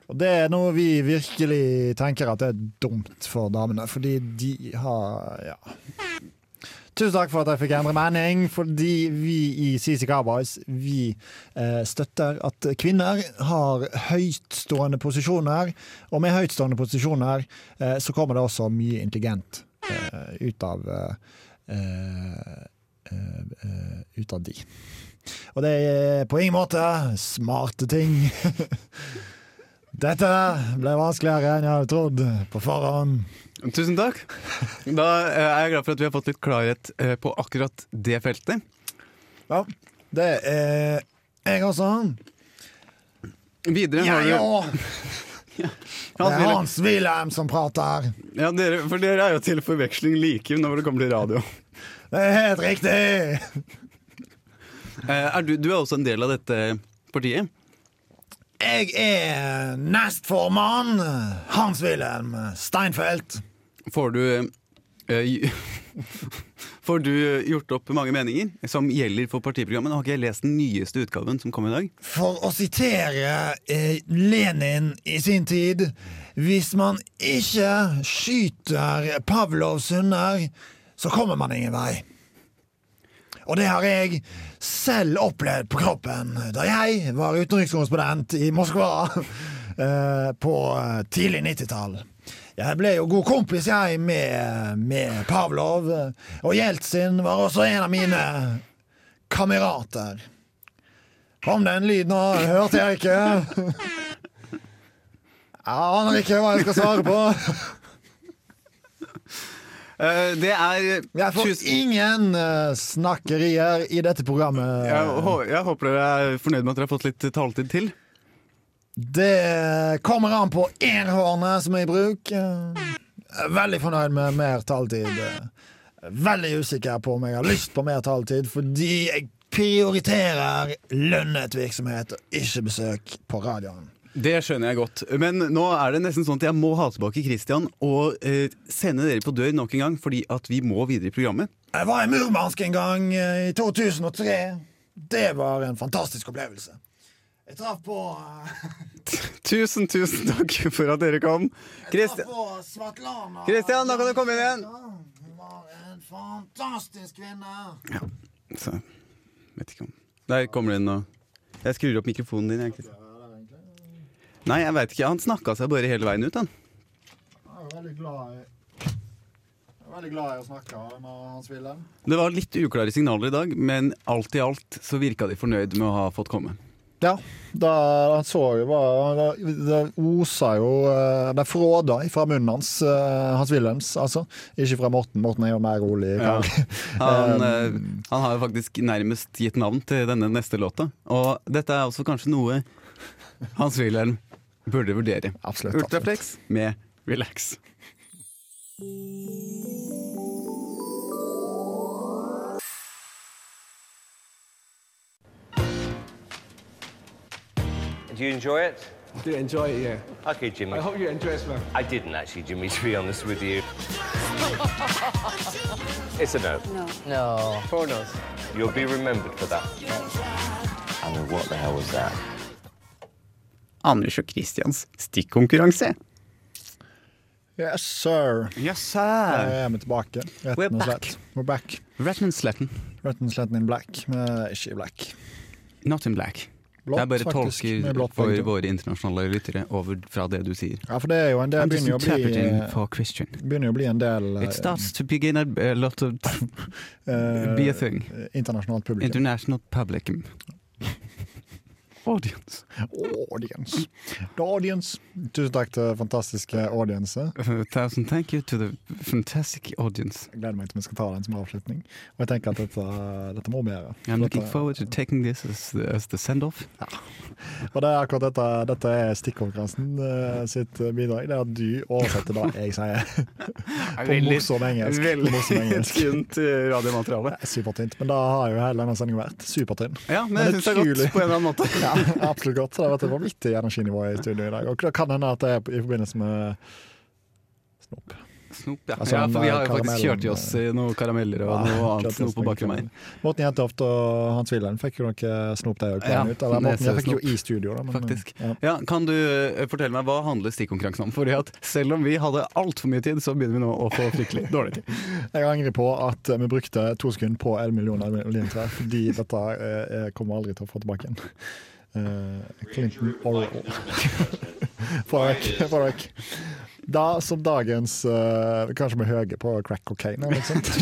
[SPEAKER 3] og det er noe vi virkelig tenker at er dumt for damene, fordi de har ja, Tusen takk for at jeg fikk endre mening, fordi vi i CC Cowboys vi eh, støtter at kvinner har høytstående posisjoner, og med høytstående posisjoner eh, så kommer det også mye intelligent eh, ut av eh, eh, eh, eh, ut av de. Og det er på ingen måte smarte ting. Dette ble vanskeligere enn jeg hadde trodd på forhånd.
[SPEAKER 2] Tusen takk. Da eh, er jeg glad for at vi har fått litt klarhet eh, på akkurat det feltet.
[SPEAKER 3] Ja, det er jeg også.
[SPEAKER 2] Videre
[SPEAKER 3] Ja,
[SPEAKER 2] har du
[SPEAKER 3] ja. Det
[SPEAKER 2] Hans
[SPEAKER 3] er
[SPEAKER 2] Wilhelm.
[SPEAKER 3] Hans Wilhelm som prater.
[SPEAKER 2] Ja, dere, for dere er jo til forveksling like når det kommer til radio.
[SPEAKER 3] Det er helt riktig!
[SPEAKER 2] Eh, Er du, du er også en del av dette partiet.
[SPEAKER 3] Jeg er nestformann Hans Wilhelm Steinfeld.
[SPEAKER 2] Får du eh, gj- Får du gjort opp mange meninger som gjelder for partiprogrammet? Nå har ikke jeg lest den nyeste utgaven som kom i dag.
[SPEAKER 3] For å sitere eh, Lenin i sin tid Hvis man ikke skyter Pavlovs hunder, så kommer man ingen vei. Og det har jeg selv opplevd på kroppen da jeg var utenrikskorrespondent i Moskva eh, på eh, tidlig 90-tall. Jeg ble jo god kompis, jeg, med, med Pavlov. eh, Og Jeltsin var også en av mine kamerater. Kom den lyden nå? Hørte jeg ikke? Jeg aner ikke hva jeg skal svare på.
[SPEAKER 2] Eh, det er
[SPEAKER 3] Jeg får
[SPEAKER 2] tusen-
[SPEAKER 3] ingen eh, snakkerier i dette programmet.
[SPEAKER 2] jeg, hå- jeg håper dere er fornøyd med at dere har fått litt taletid til.
[SPEAKER 3] Det eh, kommer an på enhårene som er i bruk. Eh, Veldig fornøyd med mer taletid. Eh, Veldig usikker på om jeg har lyst på mer taletid, fordi jeg prioriterer lønnet virksomhet og ikke besøk på radioen.
[SPEAKER 2] Det skjønner jeg godt. Men nå er det nesten sånn at jeg må ha tilbake Christian og eh, sende dere på dør nok en gang, fordi at vi må videre i programmet.
[SPEAKER 3] Jeg var i Murmansk en gang eh, i 2003. Det var en fantastisk opplevelse. Jeg traff på, eh,
[SPEAKER 2] Tusen, tusen takk for at dere kom.
[SPEAKER 3] traff
[SPEAKER 2] Christian,
[SPEAKER 3] på Svetlana
[SPEAKER 2] Christian nå kan du komme inn igjen!
[SPEAKER 3] Hun var en fantastisk kvinne.
[SPEAKER 2] Så, vet ikke om Der kommer det inn og Jeg skrur opp mikrofonen din. Jeg, Christian. Nei, jeg veit ikke. Han snakka seg bare hele veien ut, han.
[SPEAKER 5] Jeg er veldig glad i jeg er veldig glad i å snakke med Hans Wilhelm.
[SPEAKER 2] Det var litt uklare signaler i dag, men alt i alt så virka de fornøyd med å ha fått komme.
[SPEAKER 3] Ja, da, han så jo bare da- Det osa jo eh, Det fråda fra munnen hans, eh, Hans Wilhelms, altså. Ikke fra Morten. Morten er jo mer rolig.
[SPEAKER 2] Ja.
[SPEAKER 3] kar.
[SPEAKER 2] Han, eh, han har jo faktisk nærmest gitt navn til denne neste låta. Og dette er også kanskje noe Hans Wilhelm burde vurdere.
[SPEAKER 3] Absolutt. absolutt.
[SPEAKER 2] Ultraflex med Relax.
[SPEAKER 6] Do you enjoy it?
[SPEAKER 7] Do enjoy it, yeah.
[SPEAKER 6] Okay, Jimmy.
[SPEAKER 7] I hope you enjoy it, man.
[SPEAKER 6] I didn't actually, Jimmy, to be honest with you. it's a no.
[SPEAKER 8] No.
[SPEAKER 7] Four knows.
[SPEAKER 6] You'll be remembered for that. I mean, what the hell was that?
[SPEAKER 2] Anders og Christians stikkonkurranse.
[SPEAKER 3] Yes, sir.
[SPEAKER 2] Yes, sir.
[SPEAKER 3] Da er vi tilbake. Rett
[SPEAKER 2] We're
[SPEAKER 3] og
[SPEAKER 2] back.
[SPEAKER 3] slett. We're back.
[SPEAKER 2] Ratman Slatten,
[SPEAKER 3] Rett og slett in black, men ikke i black.
[SPEAKER 2] not in black.
[SPEAKER 3] Blått,
[SPEAKER 2] jeg bare
[SPEAKER 3] faktisk, med
[SPEAKER 2] tolker
[SPEAKER 3] blått
[SPEAKER 2] for
[SPEAKER 3] farge.
[SPEAKER 2] våre internasjonale lyttere over fra det du sier.
[SPEAKER 3] Ja, for det er jo en del
[SPEAKER 2] I'm
[SPEAKER 3] begynner jo å
[SPEAKER 2] just interpreting
[SPEAKER 3] bli,
[SPEAKER 2] for Christian.
[SPEAKER 3] begynner jo å bli en del eh,
[SPEAKER 2] It starts to begin a, a lot of
[SPEAKER 3] eh,
[SPEAKER 2] be a thing.
[SPEAKER 3] internasjonalt publikum.
[SPEAKER 2] international public audience.
[SPEAKER 3] Audience. The audience. Tusen takk til fantastiske audience.
[SPEAKER 2] A thousand thank you to the fantastic audience.
[SPEAKER 3] Jeg gleder meg til vi skal ta den som avslutning. Og jeg tenker at dette, dette må vi gjøre.
[SPEAKER 2] I'm looking
[SPEAKER 3] Dette-
[SPEAKER 2] forward to taking this as the, as the send-off.
[SPEAKER 3] Og det er akkurat dette, dette er stikkonkurransen eh, sitt bidrag. Det er at du oversetter det jeg sier, på morsom engelsk. På morsom engelsk.
[SPEAKER 2] skunt radiomateriale.
[SPEAKER 3] Supertynt. Men det har jo hele denne sendingen vært. Supertynn.
[SPEAKER 2] Ja, men
[SPEAKER 3] Men
[SPEAKER 2] jeg synes det er
[SPEAKER 3] utrolig.
[SPEAKER 2] godt på en eller annen måte.
[SPEAKER 3] Ja, absolutt godt. Så det har vært et vanvittig energinivå i studio i dag. Og det kan hende at det er i forbindelse med snop.
[SPEAKER 2] Snop, ja.
[SPEAKER 3] Altså,
[SPEAKER 2] ja, for vi har
[SPEAKER 3] den,
[SPEAKER 2] jo
[SPEAKER 3] eh,
[SPEAKER 2] faktisk
[SPEAKER 3] karamellen,
[SPEAKER 2] kjørt i oss eh, noen karameller og noe annet snop på bakre meg.
[SPEAKER 3] Morten Jentoft og Hans Wilhelm fikk jo noe snop der òg.
[SPEAKER 2] Ja,
[SPEAKER 3] Eller Morten jeg fikk jo
[SPEAKER 2] nesesnop.
[SPEAKER 3] i studio, da. Men,
[SPEAKER 2] Faktisk.
[SPEAKER 3] Ja.
[SPEAKER 2] Ja, kan du eh, fortelle meg, Hva handler stikkonkurransen om? Fordi at Selv om vi hadde altfor mye tid, så begynner vi nå å få fryktelig dårlig tid.
[SPEAKER 3] Jeg angrer på at eh, vi brukte to sekunder på en million oliventrær, fordi dette eh, kommer aldri til å få tilbake igjen. Eh, Clinton Oral. Få det vekk. Få det vekk. Da som dagens eh, Kanskje vi er høye på crack cocaine eller noe sånt.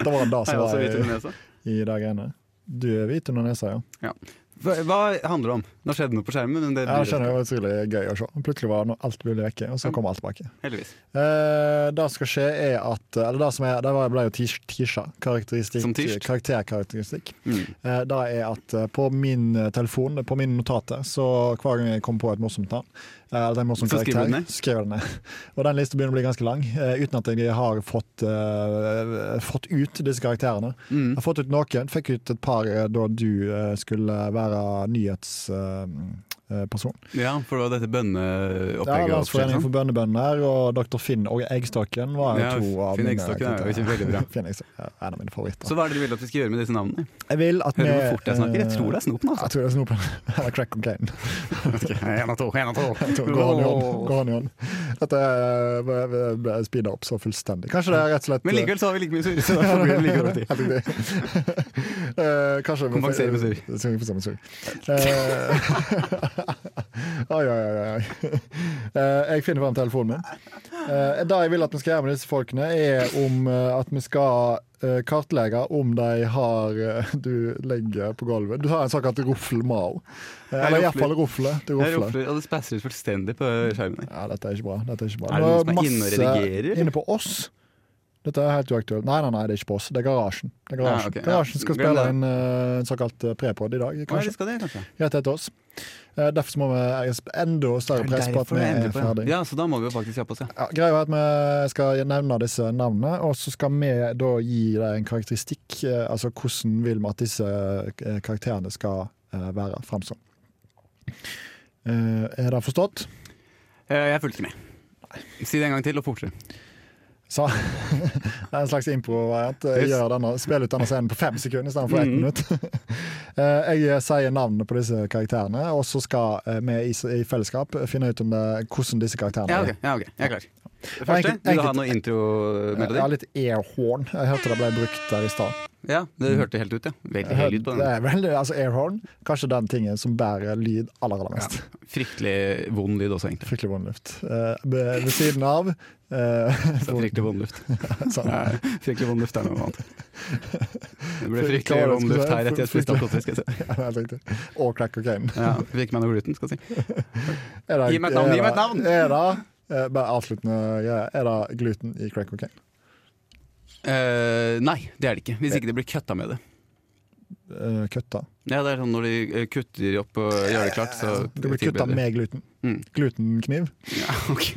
[SPEAKER 3] Det var det som
[SPEAKER 2] Hei, altså,
[SPEAKER 3] var
[SPEAKER 2] hvit
[SPEAKER 3] i,
[SPEAKER 2] under nesa.
[SPEAKER 3] i de greiene. Du er hvit under nesa, ja.
[SPEAKER 2] Ja. Hva, hva handler det om? Nå skjedde noe på skjermen, men det
[SPEAKER 3] Jeg skjønner det var utrolig gøy å se. Plutselig var no- alt mulig vekke, og
[SPEAKER 2] Mm.
[SPEAKER 3] så kom alt tilbake.
[SPEAKER 2] heldigvis.
[SPEAKER 3] Eh, det som skal skje, er at eh, Eller det som er, det var- ble jo tish- tisha. karakteristikk-
[SPEAKER 2] Som tisht?
[SPEAKER 3] Karakterkarakteristikk.
[SPEAKER 2] Mm.
[SPEAKER 3] Eh, Det er at eh, på min eh, telefon, på mine notater, så hver gang jeg kommer på et morsomt navn, eh, eller en morsom
[SPEAKER 2] Så skriver
[SPEAKER 3] karakter,
[SPEAKER 2] du den ned?
[SPEAKER 3] skriver jeg den ned. Og den lista begynner å bli ganske lang, eh, uten at jeg har fått, eh, fått ut disse karakterene.
[SPEAKER 2] Mm.
[SPEAKER 3] Jeg har fått ut noen, fikk ut et par eh, da du eh, skulle være eh, nyhetsperson.
[SPEAKER 2] Ja, for det var dette
[SPEAKER 3] Ja,
[SPEAKER 2] bønneopplegget. og
[SPEAKER 3] Landsforeningen for bønnebønder og Dr. Finn og Eggstokken var jo
[SPEAKER 2] Ja,
[SPEAKER 3] to av
[SPEAKER 2] Finn
[SPEAKER 3] mine
[SPEAKER 2] Eggstokken er jo
[SPEAKER 3] karakterer.
[SPEAKER 2] ikke veldig bra.
[SPEAKER 3] Finn Eggstokken er en av mine favoritter.
[SPEAKER 2] Så hva er det du vil at vi skal gjøre med disse navnene?
[SPEAKER 3] jeg vil at
[SPEAKER 2] Hører du
[SPEAKER 3] vi,
[SPEAKER 2] hvor fort jeg snakker? Jeg
[SPEAKER 3] eh,
[SPEAKER 2] tror det er snopen, altså.
[SPEAKER 3] Jeg tror det er snopen. Eller crack cocaine.
[SPEAKER 2] Én av to, én av
[SPEAKER 3] Så Går hånd i hånd. Går hånd i hånd. Dette eh, speeder opp så fullstendig. Kanskje det er rett og slett
[SPEAKER 2] Men likevel så har vi like mye surr, så derfor blir det like dårlig tid.
[SPEAKER 3] Helt riktig. Eh, kanskje vi-
[SPEAKER 2] Kompensere med surr.
[SPEAKER 3] Så vi får se med surr. Eh, Oi, oi, oi. oi. Eh, jeg finner fram telefonen min. Eh, det jeg vil at vi skal gjøre med disse folkene, er om eh, at vi skal eh, kartlegge om de har eh, Du legger på gulvet. Du har en såkalt roffelmao. Uh, eller
[SPEAKER 2] Jeg
[SPEAKER 3] iallfall rofle. Du
[SPEAKER 2] Jeg
[SPEAKER 3] rofler.
[SPEAKER 2] roper, og det spasser ut fullstendig på skjermen. her.
[SPEAKER 3] Ja, dette er ikke bra. Dette er ikke bra.
[SPEAKER 2] Er det noen som er
[SPEAKER 3] Masse
[SPEAKER 2] inne og redigerer?
[SPEAKER 3] Inne på oss. Dette er helt uaktuelt. Nei, nei, nei, det er ikke på oss. Det er Garasjen. Det er
[SPEAKER 2] Ja,
[SPEAKER 3] garasjen.
[SPEAKER 2] Ah, ok, ja.
[SPEAKER 3] garasjen skal
[SPEAKER 2] Glem
[SPEAKER 3] spille
[SPEAKER 2] det.
[SPEAKER 3] en, eh, en såkalt eh, prepod i dag,
[SPEAKER 2] Hva er
[SPEAKER 3] kanskje.
[SPEAKER 2] det skal det, kanskje?
[SPEAKER 3] Rett etter oss. Eh, Derfor så må vi legge enda større press på at vi er ferdig.
[SPEAKER 2] Ja, så da må vi jo faktisk kjappe oss, ja.
[SPEAKER 3] Ja, greia er at vi skal nevne disse navnene, og så skal vi da gi deg en karakteristikk. eh, Altså hvordan vil vi at disse eh, karakterene skal eh, være framstått. Eh, Er det forstått?
[SPEAKER 2] Eh, Jeg fulgte ikke med. Si det en gang til, og fortere.
[SPEAKER 3] Så, det er en slags improvariant. Jeg
[SPEAKER 2] Yes. Mm.
[SPEAKER 3] gjør denne- Spiller ut denne scenen på fem sekunder istedenfor ett minutt. Eh, Jeg sier navnene på disse karakterene, og så skal eh, vi i s- i fellesskap finne ut om det, hvordan disse karakterene
[SPEAKER 2] Ja,
[SPEAKER 3] er.
[SPEAKER 2] ok, ja, ok, jeg er klar. Det første,
[SPEAKER 3] Enkelt-
[SPEAKER 2] vil du ha
[SPEAKER 3] enkelt-
[SPEAKER 2] noe
[SPEAKER 3] Ja,
[SPEAKER 2] intromelodi?
[SPEAKER 3] litt airhorn. Jeg hørte det ble brukt der i stad.
[SPEAKER 2] Ja, det hørte helt ut, ja. Veldig høy lyd på
[SPEAKER 3] Det
[SPEAKER 2] den.
[SPEAKER 3] er vel, altså airhorn, kanskje den tingen som bærer lyd aller, aller mest.
[SPEAKER 2] Fryktelig vond lyd også, egentlig.
[SPEAKER 3] Fryktelig vond luft. Eh, be- ved siden av eh,
[SPEAKER 2] Så Fryktelig vond luft.
[SPEAKER 3] sånn.
[SPEAKER 2] Nei, Fryktelig vond luft er noe annet. Det ble fryktelig
[SPEAKER 3] Hva var det jeg
[SPEAKER 2] vond
[SPEAKER 3] skulle
[SPEAKER 2] luft
[SPEAKER 3] si?
[SPEAKER 2] her etter jeg spiste
[SPEAKER 3] Fryktelig-
[SPEAKER 2] alkohol, skal jeg si.
[SPEAKER 3] Ja, det er helt riktig. Og crack cocaine.
[SPEAKER 2] Ja, fikk meg noe gluten, skal jeg si.
[SPEAKER 3] Er det-
[SPEAKER 2] Gi meg et navn,
[SPEAKER 3] er
[SPEAKER 2] gi meg et
[SPEAKER 3] det-
[SPEAKER 2] navn!
[SPEAKER 3] Er det, eh, bare avsluttende greie, er det gluten i crack cocaine?
[SPEAKER 2] Eh, nei, det er det ikke. Hvis ikke det blir kutta med det.
[SPEAKER 3] Eh, Køtta.
[SPEAKER 2] Ja, det er sånn når de eh, kutter opp og gjør det klart, så
[SPEAKER 3] Det blir kutta
[SPEAKER 2] tilbereder.
[SPEAKER 3] med gluten.
[SPEAKER 2] Mm.
[SPEAKER 3] Glutenkniv.
[SPEAKER 2] Ja, ok.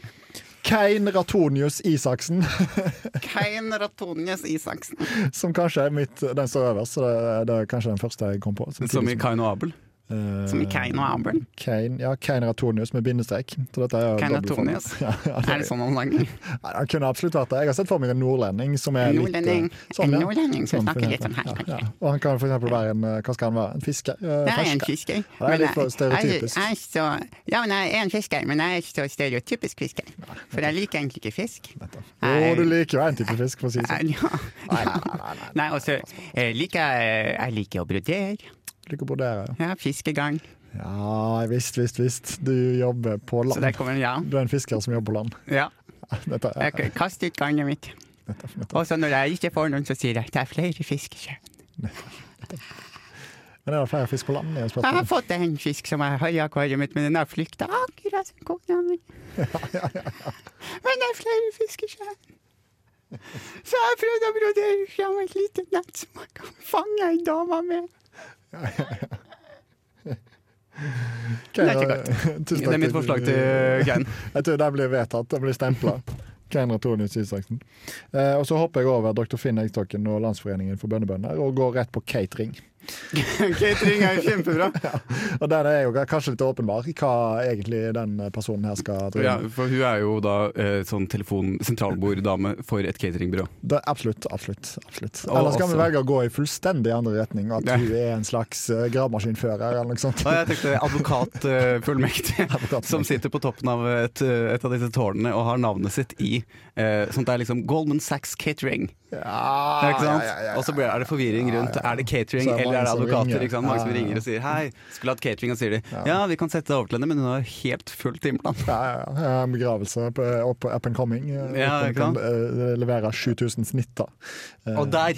[SPEAKER 3] Kein Ratonius Isaksen,
[SPEAKER 2] Kein Ratonius Isaksen.
[SPEAKER 3] som kanskje er mitt Den står øverst, så det, det er kanskje den første jeg kom på.
[SPEAKER 2] Som i Kain og Abel.
[SPEAKER 3] Eh,
[SPEAKER 2] Som i Kain og Abel.
[SPEAKER 3] Kane, ja, Kane Ratonius med bindestrek. Så dette er jo
[SPEAKER 2] Kane
[SPEAKER 3] dobbelt for meg.
[SPEAKER 2] Ratonius?
[SPEAKER 3] Ja, ja,
[SPEAKER 2] Er det
[SPEAKER 3] det,
[SPEAKER 2] sånn han lager?
[SPEAKER 3] Nei, han kunne absolutt vært det. Jeg har sett for meg en nordlending som er
[SPEAKER 9] Nordlending.
[SPEAKER 3] litt eh,
[SPEAKER 9] En
[SPEAKER 3] ja.
[SPEAKER 9] nordlending som
[SPEAKER 3] Sånn, for
[SPEAKER 9] snakker litt sånn her,
[SPEAKER 3] eksempel. Ja,
[SPEAKER 9] kanskje.
[SPEAKER 3] ja. Og han kan for eksempel være en eh, Hva skal han være? En fisker? Eh,
[SPEAKER 9] Jeg er en
[SPEAKER 3] fersker.
[SPEAKER 9] fisker.
[SPEAKER 3] Ja, det er
[SPEAKER 9] men
[SPEAKER 3] litt for stereotypisk.
[SPEAKER 9] Jeg, jeg, er så, ja, men jeg er en fisker, men jeg er ikke så stereotypisk fisker. For jeg liker egentlig ikke fisk.
[SPEAKER 3] Jo, du liker jo en type fisk, for å si det
[SPEAKER 9] Ja,
[SPEAKER 3] sånn.
[SPEAKER 9] ja. Nei, og så eh, liker jeg Jeg liker å brodere.
[SPEAKER 3] Du Liker å brodere. ja.
[SPEAKER 9] Ja, fiskegang.
[SPEAKER 3] Ja visst, visst, visst. Du jobber på
[SPEAKER 9] Så der
[SPEAKER 3] land.
[SPEAKER 9] kommer en ja.
[SPEAKER 3] Du er en fisker som jobber på land.
[SPEAKER 9] ja.
[SPEAKER 3] Dette er
[SPEAKER 9] Jeg kaster ut garnet mitt. Og så når jeg ikke får noen, så sier jeg det er flere fisk. i sjøen."
[SPEAKER 3] Men er det flere fisk på land? Jeg
[SPEAKER 9] Jeg har
[SPEAKER 3] spør
[SPEAKER 9] fått en fisk som jeg har i akvariet mitt, men den har flykta Ah, akkurat som kona mi. Men det er flere fisk i sjøen. Så jeg har prøvd å brodere fram et lite nett som jeg kan fange ei dame med.
[SPEAKER 3] Kane,
[SPEAKER 9] det er ikke
[SPEAKER 3] Tusen
[SPEAKER 2] Det er mitt forslag til Kein.
[SPEAKER 3] Jeg tror den blir vedtatt, den blir stempla. Keinrad Tornhus Isaksen. Eh, og så hopper jeg over Dr. Finn Eggstokken og Landsforeningen for bøndebønder og går rett på catering.
[SPEAKER 2] Catering er jo kjempebra.
[SPEAKER 3] Og den er jo kanskje litt åpenbar, hva egentlig den personen her skal drive
[SPEAKER 2] Ja,
[SPEAKER 3] med.
[SPEAKER 2] for hun er jo da eh, sånn telefon sentralborddame for et cateringbyrå.
[SPEAKER 3] Det, absolutt, absolutt. absolutt.
[SPEAKER 2] Og
[SPEAKER 3] Eller skal vi
[SPEAKER 2] også-
[SPEAKER 3] velge å gå i fullstendig andre retning, at
[SPEAKER 2] altså. Ja.
[SPEAKER 3] hun er en slags eh, gravemaskinfører eller noe sånt?
[SPEAKER 2] Ja, jeg tenkte advokatfullmektig,
[SPEAKER 3] Advokatfullmektig.
[SPEAKER 2] som sitter på toppen av et, eh, et av disse tårnene og har navnet sitt i eh, Sånn at det er liksom Goldman Sachs Catering.
[SPEAKER 3] Ja,
[SPEAKER 2] Er det ikke sant? Og så blir- er det forvirring rundt er det catering
[SPEAKER 3] Så er det
[SPEAKER 2] eller er det
[SPEAKER 3] mange som
[SPEAKER 2] advokater.
[SPEAKER 3] ringer.
[SPEAKER 2] Ikke sant? Mange som
[SPEAKER 3] Ja, ja, ja.
[SPEAKER 2] ringer og sier 'hei, skulle hatt catering', og sier de 'ja, vi kan sette deg over til henne, men hun har helt full timeplan'.
[SPEAKER 3] Ja, ja, ja. En Begravelse på, up, up and coming. eh,
[SPEAKER 2] Ja,
[SPEAKER 3] opp-
[SPEAKER 2] ikke sant?
[SPEAKER 3] eh, levere 7000 snitter. Eh,
[SPEAKER 2] Og der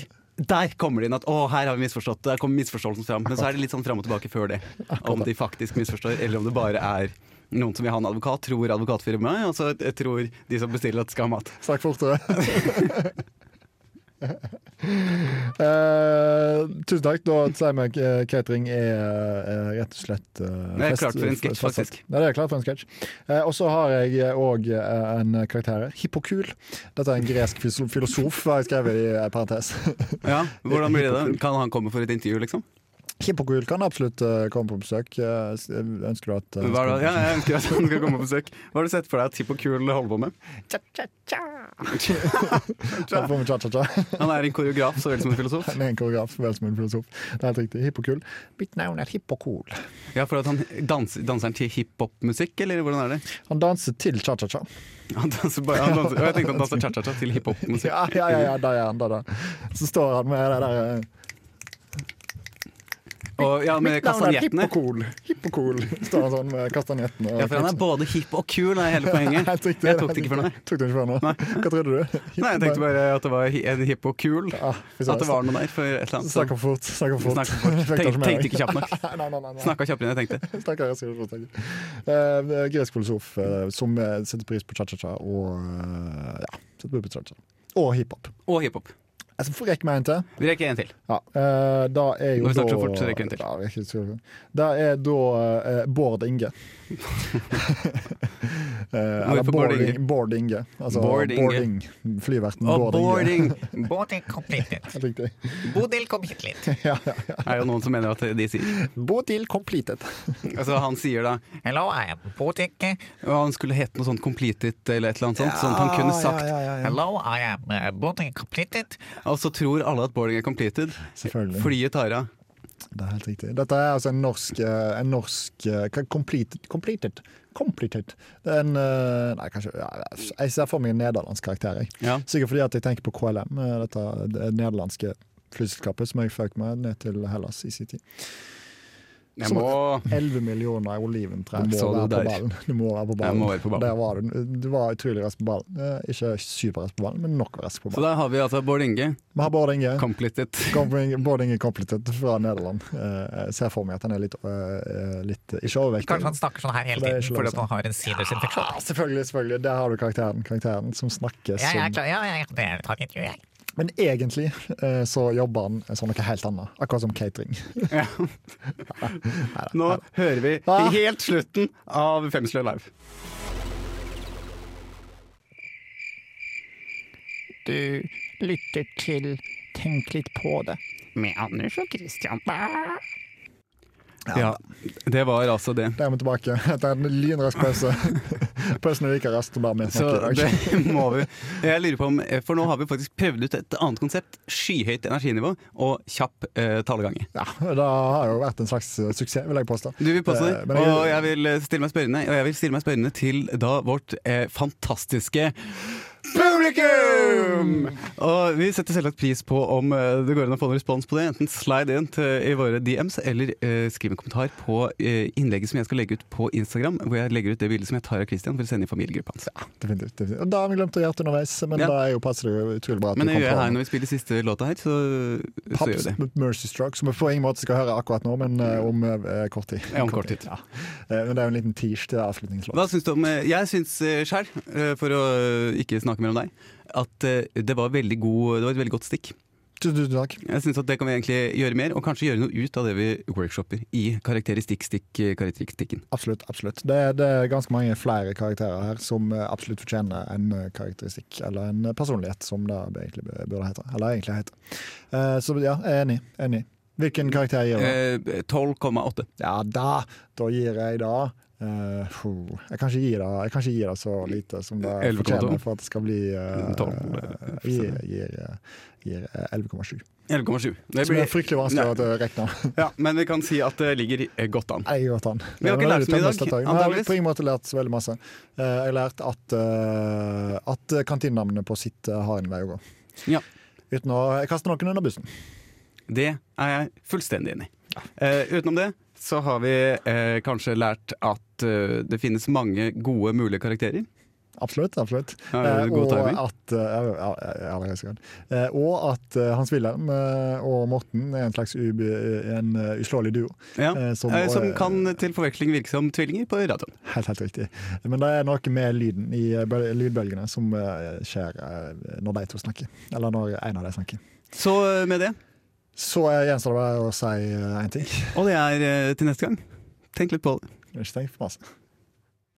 [SPEAKER 2] der kommer det inn at å, her har vi misforstått. Der kommer misforståelsen fram. Men så er det litt sånn fram og tilbake før det. Om de faktisk misforstår, eller om det bare er noen som vil ha en advokat, tror advokatfirmaet, og så tror de som bestiller at de skal ha mat.
[SPEAKER 3] Snakk fortere. Eh, tusen takk. Da sier vi at eh, catering er eh, rett og slett eh,
[SPEAKER 2] Det er
[SPEAKER 3] fest-
[SPEAKER 2] klart for en sketsj,
[SPEAKER 3] fest-
[SPEAKER 2] faktisk.
[SPEAKER 3] Ja, det er klart for en sketsj. Eh, og så har jeg òg en karakter her. Hippokul. Dette er en gresk fyso- filosof, har jeg skrevet i eh, parentes.
[SPEAKER 2] Ja, hvordan blir det da? Kan han komme for et intervju, liksom?
[SPEAKER 3] Hippokul kan absolutt eh, komme på besøk. Eh, s- ønsker du at eh,
[SPEAKER 2] Hva er det? Ja, jeg ønsker at han skal komme på besøk. Hva har du sett for deg at Hipp og Kul holder på med?
[SPEAKER 3] skal- får vi cha-cha-cha?
[SPEAKER 2] Han er en koreograf så vel som en filosof.
[SPEAKER 3] Han er en koreograf, vel som en filosof. Det er helt riktig. Hippokul. Mitt navn er Hippokul.
[SPEAKER 2] Ja, for at han danser, danser han til hiphop-musikk, eller hvordan er det?
[SPEAKER 3] Han danser til cha-cha-cha.
[SPEAKER 2] Han danser bare, han danser, og jeg tenkte han danser cha-cha-cha til hiphop-musikk.
[SPEAKER 3] Ja, ja, ja, ja, der er han, der, der. Så står han med det der eh,
[SPEAKER 2] Og ja, med
[SPEAKER 3] Mitt navn er
[SPEAKER 2] kastanjettene.
[SPEAKER 3] Hippokul. Hippokul. Står han sånn med kastanjettene. og
[SPEAKER 2] Ja, for han er både hipp og kul, er hele poenget.
[SPEAKER 3] Helt riktig.
[SPEAKER 2] Jeg tok det ikke for meg.
[SPEAKER 3] Tok du ikke for noe? Hva trodde du?
[SPEAKER 2] Nei, jeg tenkte bare at det var hi- en hipp og kul.
[SPEAKER 3] Ja, vi sa
[SPEAKER 2] At det var noe der for et eller annet.
[SPEAKER 3] Snakker
[SPEAKER 2] Så
[SPEAKER 3] fort. Snakker fort.
[SPEAKER 2] Snakker fort.
[SPEAKER 3] Fikk det
[SPEAKER 2] Tenk-
[SPEAKER 3] med meg.
[SPEAKER 2] tenkte ikke kjapt nok.
[SPEAKER 3] Nei, nei, nei. nei.
[SPEAKER 2] snakka kjappere enn jeg tenkte.
[SPEAKER 3] Snakker jeg skriver fort. tenker jeg. Eh, gresk filosof eh, som eh, setter pris på cha-cha-cha og eh, ja, setter pris på cha-cha. og hiphop.
[SPEAKER 4] Og hiphop.
[SPEAKER 3] Jeg skal få rekke meg en til.
[SPEAKER 4] Vi rekker en til.
[SPEAKER 3] Ja, eh, da er jo
[SPEAKER 4] Når vi snakker
[SPEAKER 3] da-
[SPEAKER 4] så fort, så rekker vi en til.
[SPEAKER 3] Ja, vi rekker så fort. Da er da eh, Bård Inge. Eh, eller
[SPEAKER 4] Hvorfor Bård Inge?
[SPEAKER 3] Bård- Bård Inge. Altså
[SPEAKER 4] Bård
[SPEAKER 3] Bård
[SPEAKER 4] Inge.
[SPEAKER 3] Inge. Flyverten
[SPEAKER 4] Og
[SPEAKER 3] Bård Inge.
[SPEAKER 4] boarding
[SPEAKER 8] Båten kom hit litt.
[SPEAKER 3] Helt Riktig.
[SPEAKER 8] Bodil kom hit litt.
[SPEAKER 4] er jo noen som mener at de sier.
[SPEAKER 3] Bodil completed.
[SPEAKER 4] Altså Han sier da
[SPEAKER 8] Hello, I am Bodil.
[SPEAKER 4] Og han skulle hett noe sånn Completed eller et eller annet sånt. sånn at han kunne sagt
[SPEAKER 8] Hello, I am
[SPEAKER 2] eh,
[SPEAKER 8] uh, Bodil completed.
[SPEAKER 4] Og så tror alle at boarding er completed.
[SPEAKER 3] Selvfølgelig.
[SPEAKER 4] Flyet tar av.
[SPEAKER 3] Det er helt riktig. Dette er altså en norsk, eh, en norsk eh, hva- completed, completed. completed. Det er en, eh, nei, kanskje, ja, jeg ser for meg en nederlandsk karakter. Jeg.
[SPEAKER 4] Ja.
[SPEAKER 3] Sikkert fordi at jeg tenker på KLM, eh, dette det nederlandske flyselskapet som jeg føk med ned til Hellas i sin tid.
[SPEAKER 4] Jeg må
[SPEAKER 3] 11 millioner oliventrær må
[SPEAKER 4] Så
[SPEAKER 3] være på
[SPEAKER 4] du der?
[SPEAKER 3] ballen. Du må være på
[SPEAKER 4] Jeg
[SPEAKER 3] ballen.
[SPEAKER 4] må være på ballen.
[SPEAKER 3] Der var du. Du var utrolig rask på ballen. Eh, Ikke superrask på ballen, men nok rask på
[SPEAKER 4] Så
[SPEAKER 3] ballen.
[SPEAKER 4] da har vi altså Bård Inge,
[SPEAKER 3] Vi har eh. Bård Inge.
[SPEAKER 4] completed.
[SPEAKER 3] Kompling- Bård Inge Kompletet fra Nederland. Eh, Jeg ser for meg at han er litt, eh, litt Ikke overvektig.
[SPEAKER 8] Kanskje han snakker sånn her hele
[SPEAKER 3] Det er
[SPEAKER 8] tiden
[SPEAKER 3] ikke lov å
[SPEAKER 8] fordi at han har en sinusinfeksjon.
[SPEAKER 3] Ja, selvfølgelig, selvfølgelig. Der har du karakteren, karakteren som snakker
[SPEAKER 8] Ja, jeg er
[SPEAKER 3] som
[SPEAKER 8] klar. Ja, jeg, det tar intervju, jeg.
[SPEAKER 3] Men egentlig eh, så jobber han som noe helt annet. Akkurat som catering.
[SPEAKER 4] Nå hører vi
[SPEAKER 3] Ah.
[SPEAKER 4] helt slutten av Femsløy Live.
[SPEAKER 8] Du lytter til Tenk litt på det. Med Anders og Christian.
[SPEAKER 4] Ja, det var altså det.
[SPEAKER 3] Der er vi tilbake etter en lynrask pause. Pausen er like rask som bare vi
[SPEAKER 4] Så
[SPEAKER 3] snakker i
[SPEAKER 4] det
[SPEAKER 3] dag.
[SPEAKER 4] må vi. Jeg lurer på om eh, For nå har vi faktisk prøvd ut et annet konsept. Skyhøyt energinivå og kjapp eh, talegange.
[SPEAKER 3] Ja, det har jo vært en slags suksess, vil jeg påstå.
[SPEAKER 4] Du vil påstå
[SPEAKER 3] Eh,
[SPEAKER 4] det,
[SPEAKER 3] men jeg-
[SPEAKER 4] og jeg vil eh, stille meg spørrende Og jeg vil stille meg spørrende til da vårt eh, fantastiske publikum! Og vi setter selvsagt pris på om eh, det går an å få en respons på det. Enten slide inn til, eh, i våre DMs, eller eh, skriv en kommentar på eh, innlegget som jeg skal legge ut på Instagram, hvor jeg legger ut det bildet som jeg tar av Christian for å sende i familiegruppa hans.
[SPEAKER 3] Definitivt, definitivt. Og Da har vi glemt å gjøre det underveis, men
[SPEAKER 4] Ja.
[SPEAKER 3] da er jo passer det jo utrolig bra at du
[SPEAKER 4] Men det
[SPEAKER 3] kom
[SPEAKER 4] gjør jeg
[SPEAKER 3] på
[SPEAKER 4] her når vi spiller siste låta her, så, så gjør vi det.
[SPEAKER 3] Paps med Mercy Stroke, som vi på ingen måte skal høre akkurat nå, men eh, om eh, kort tid.
[SPEAKER 4] Ja, om kort tid.
[SPEAKER 3] Ja. Eh, men det er jo en liten tirsdag til avslutningslåt.
[SPEAKER 4] Hva syns du om eh, Jeg syns eh, sjæl, eh, for å eh, ikke snakke mer om deg, at eh, det var, veldig god, det var et veldig godt stikk.
[SPEAKER 3] Tusen tusen takk.
[SPEAKER 4] Jeg synes at Det kan vi egentlig gjøre mer, og kanskje gjøre noe ut av det vi workshopper i eh, karakteristikk-stikk-karakteristikken.
[SPEAKER 3] Absolutt. absolutt. Det, er- det er ganske mange flere karakterer her som eh, absolutt fortjener en eh, karakteristikk, eller en eh, personlighet, som det egentlig b- burde hete. Eller egentlig hete. Eh, så ja, jeg er enig. enig. Hvilken karakter gir du?
[SPEAKER 4] Eh, 12,8.
[SPEAKER 3] Ja da, da gir jeg da eh, puh, jeg, kan ikke gi det, jeg kan ikke gi det så lite som det
[SPEAKER 4] 11,2.
[SPEAKER 3] fortjener for at det skal bli eh,
[SPEAKER 4] 12,
[SPEAKER 3] eh, gir, gir, gir eh, 11,7.
[SPEAKER 4] 11,7. Det
[SPEAKER 3] Som er
[SPEAKER 4] blir-
[SPEAKER 3] fryktelig vanskelig
[SPEAKER 4] Nei.
[SPEAKER 3] å regne.
[SPEAKER 4] Ja, men vi kan si at det ligger eh, godt an.
[SPEAKER 3] Jeg gjør tann.
[SPEAKER 4] Vi har ikke
[SPEAKER 3] Det var
[SPEAKER 4] lært så mye i
[SPEAKER 3] veldig
[SPEAKER 4] dag,
[SPEAKER 3] tømmest dette Men Jeg har
[SPEAKER 4] antageligvis.
[SPEAKER 3] på ingen måte lært så veldig masse. Eh, Jeg har lært at, eh, at kantinenavnet på sitt eh, har en vei å gå.
[SPEAKER 4] Ja.
[SPEAKER 3] Uten å kaste noen under bussen.
[SPEAKER 4] Det er jeg fullstendig enig i. Eh, utenom det så har vi eh, kanskje lært at eh, det finnes mange gode mulige karakterer.
[SPEAKER 3] Absolutt. absolutt.
[SPEAKER 4] Ja,
[SPEAKER 3] Eh,
[SPEAKER 4] god
[SPEAKER 3] og,
[SPEAKER 4] timing.
[SPEAKER 3] at, eh, ja, ja, ja, det er så godt. Eh, og at eh, Hans Wilhelm eh, og Morten er en slags ub, en eh, uslåelig duo.
[SPEAKER 4] Ja.
[SPEAKER 3] Eh, som-
[SPEAKER 4] Eh, som kan til forveksling virke som tvillinger på radioen.
[SPEAKER 3] Helt, helt riktig. Men det er noe med lyden i eh, bøl- lydbølgene som eh, skjer eh, når de to snakker. Eller når en av de snakker.
[SPEAKER 4] Så eh, med det
[SPEAKER 3] Så eh, gjenstår det bare å si én ting.
[SPEAKER 4] Og det er eh, til neste gang. Tenk litt på det.
[SPEAKER 3] Ikke tenk for masse.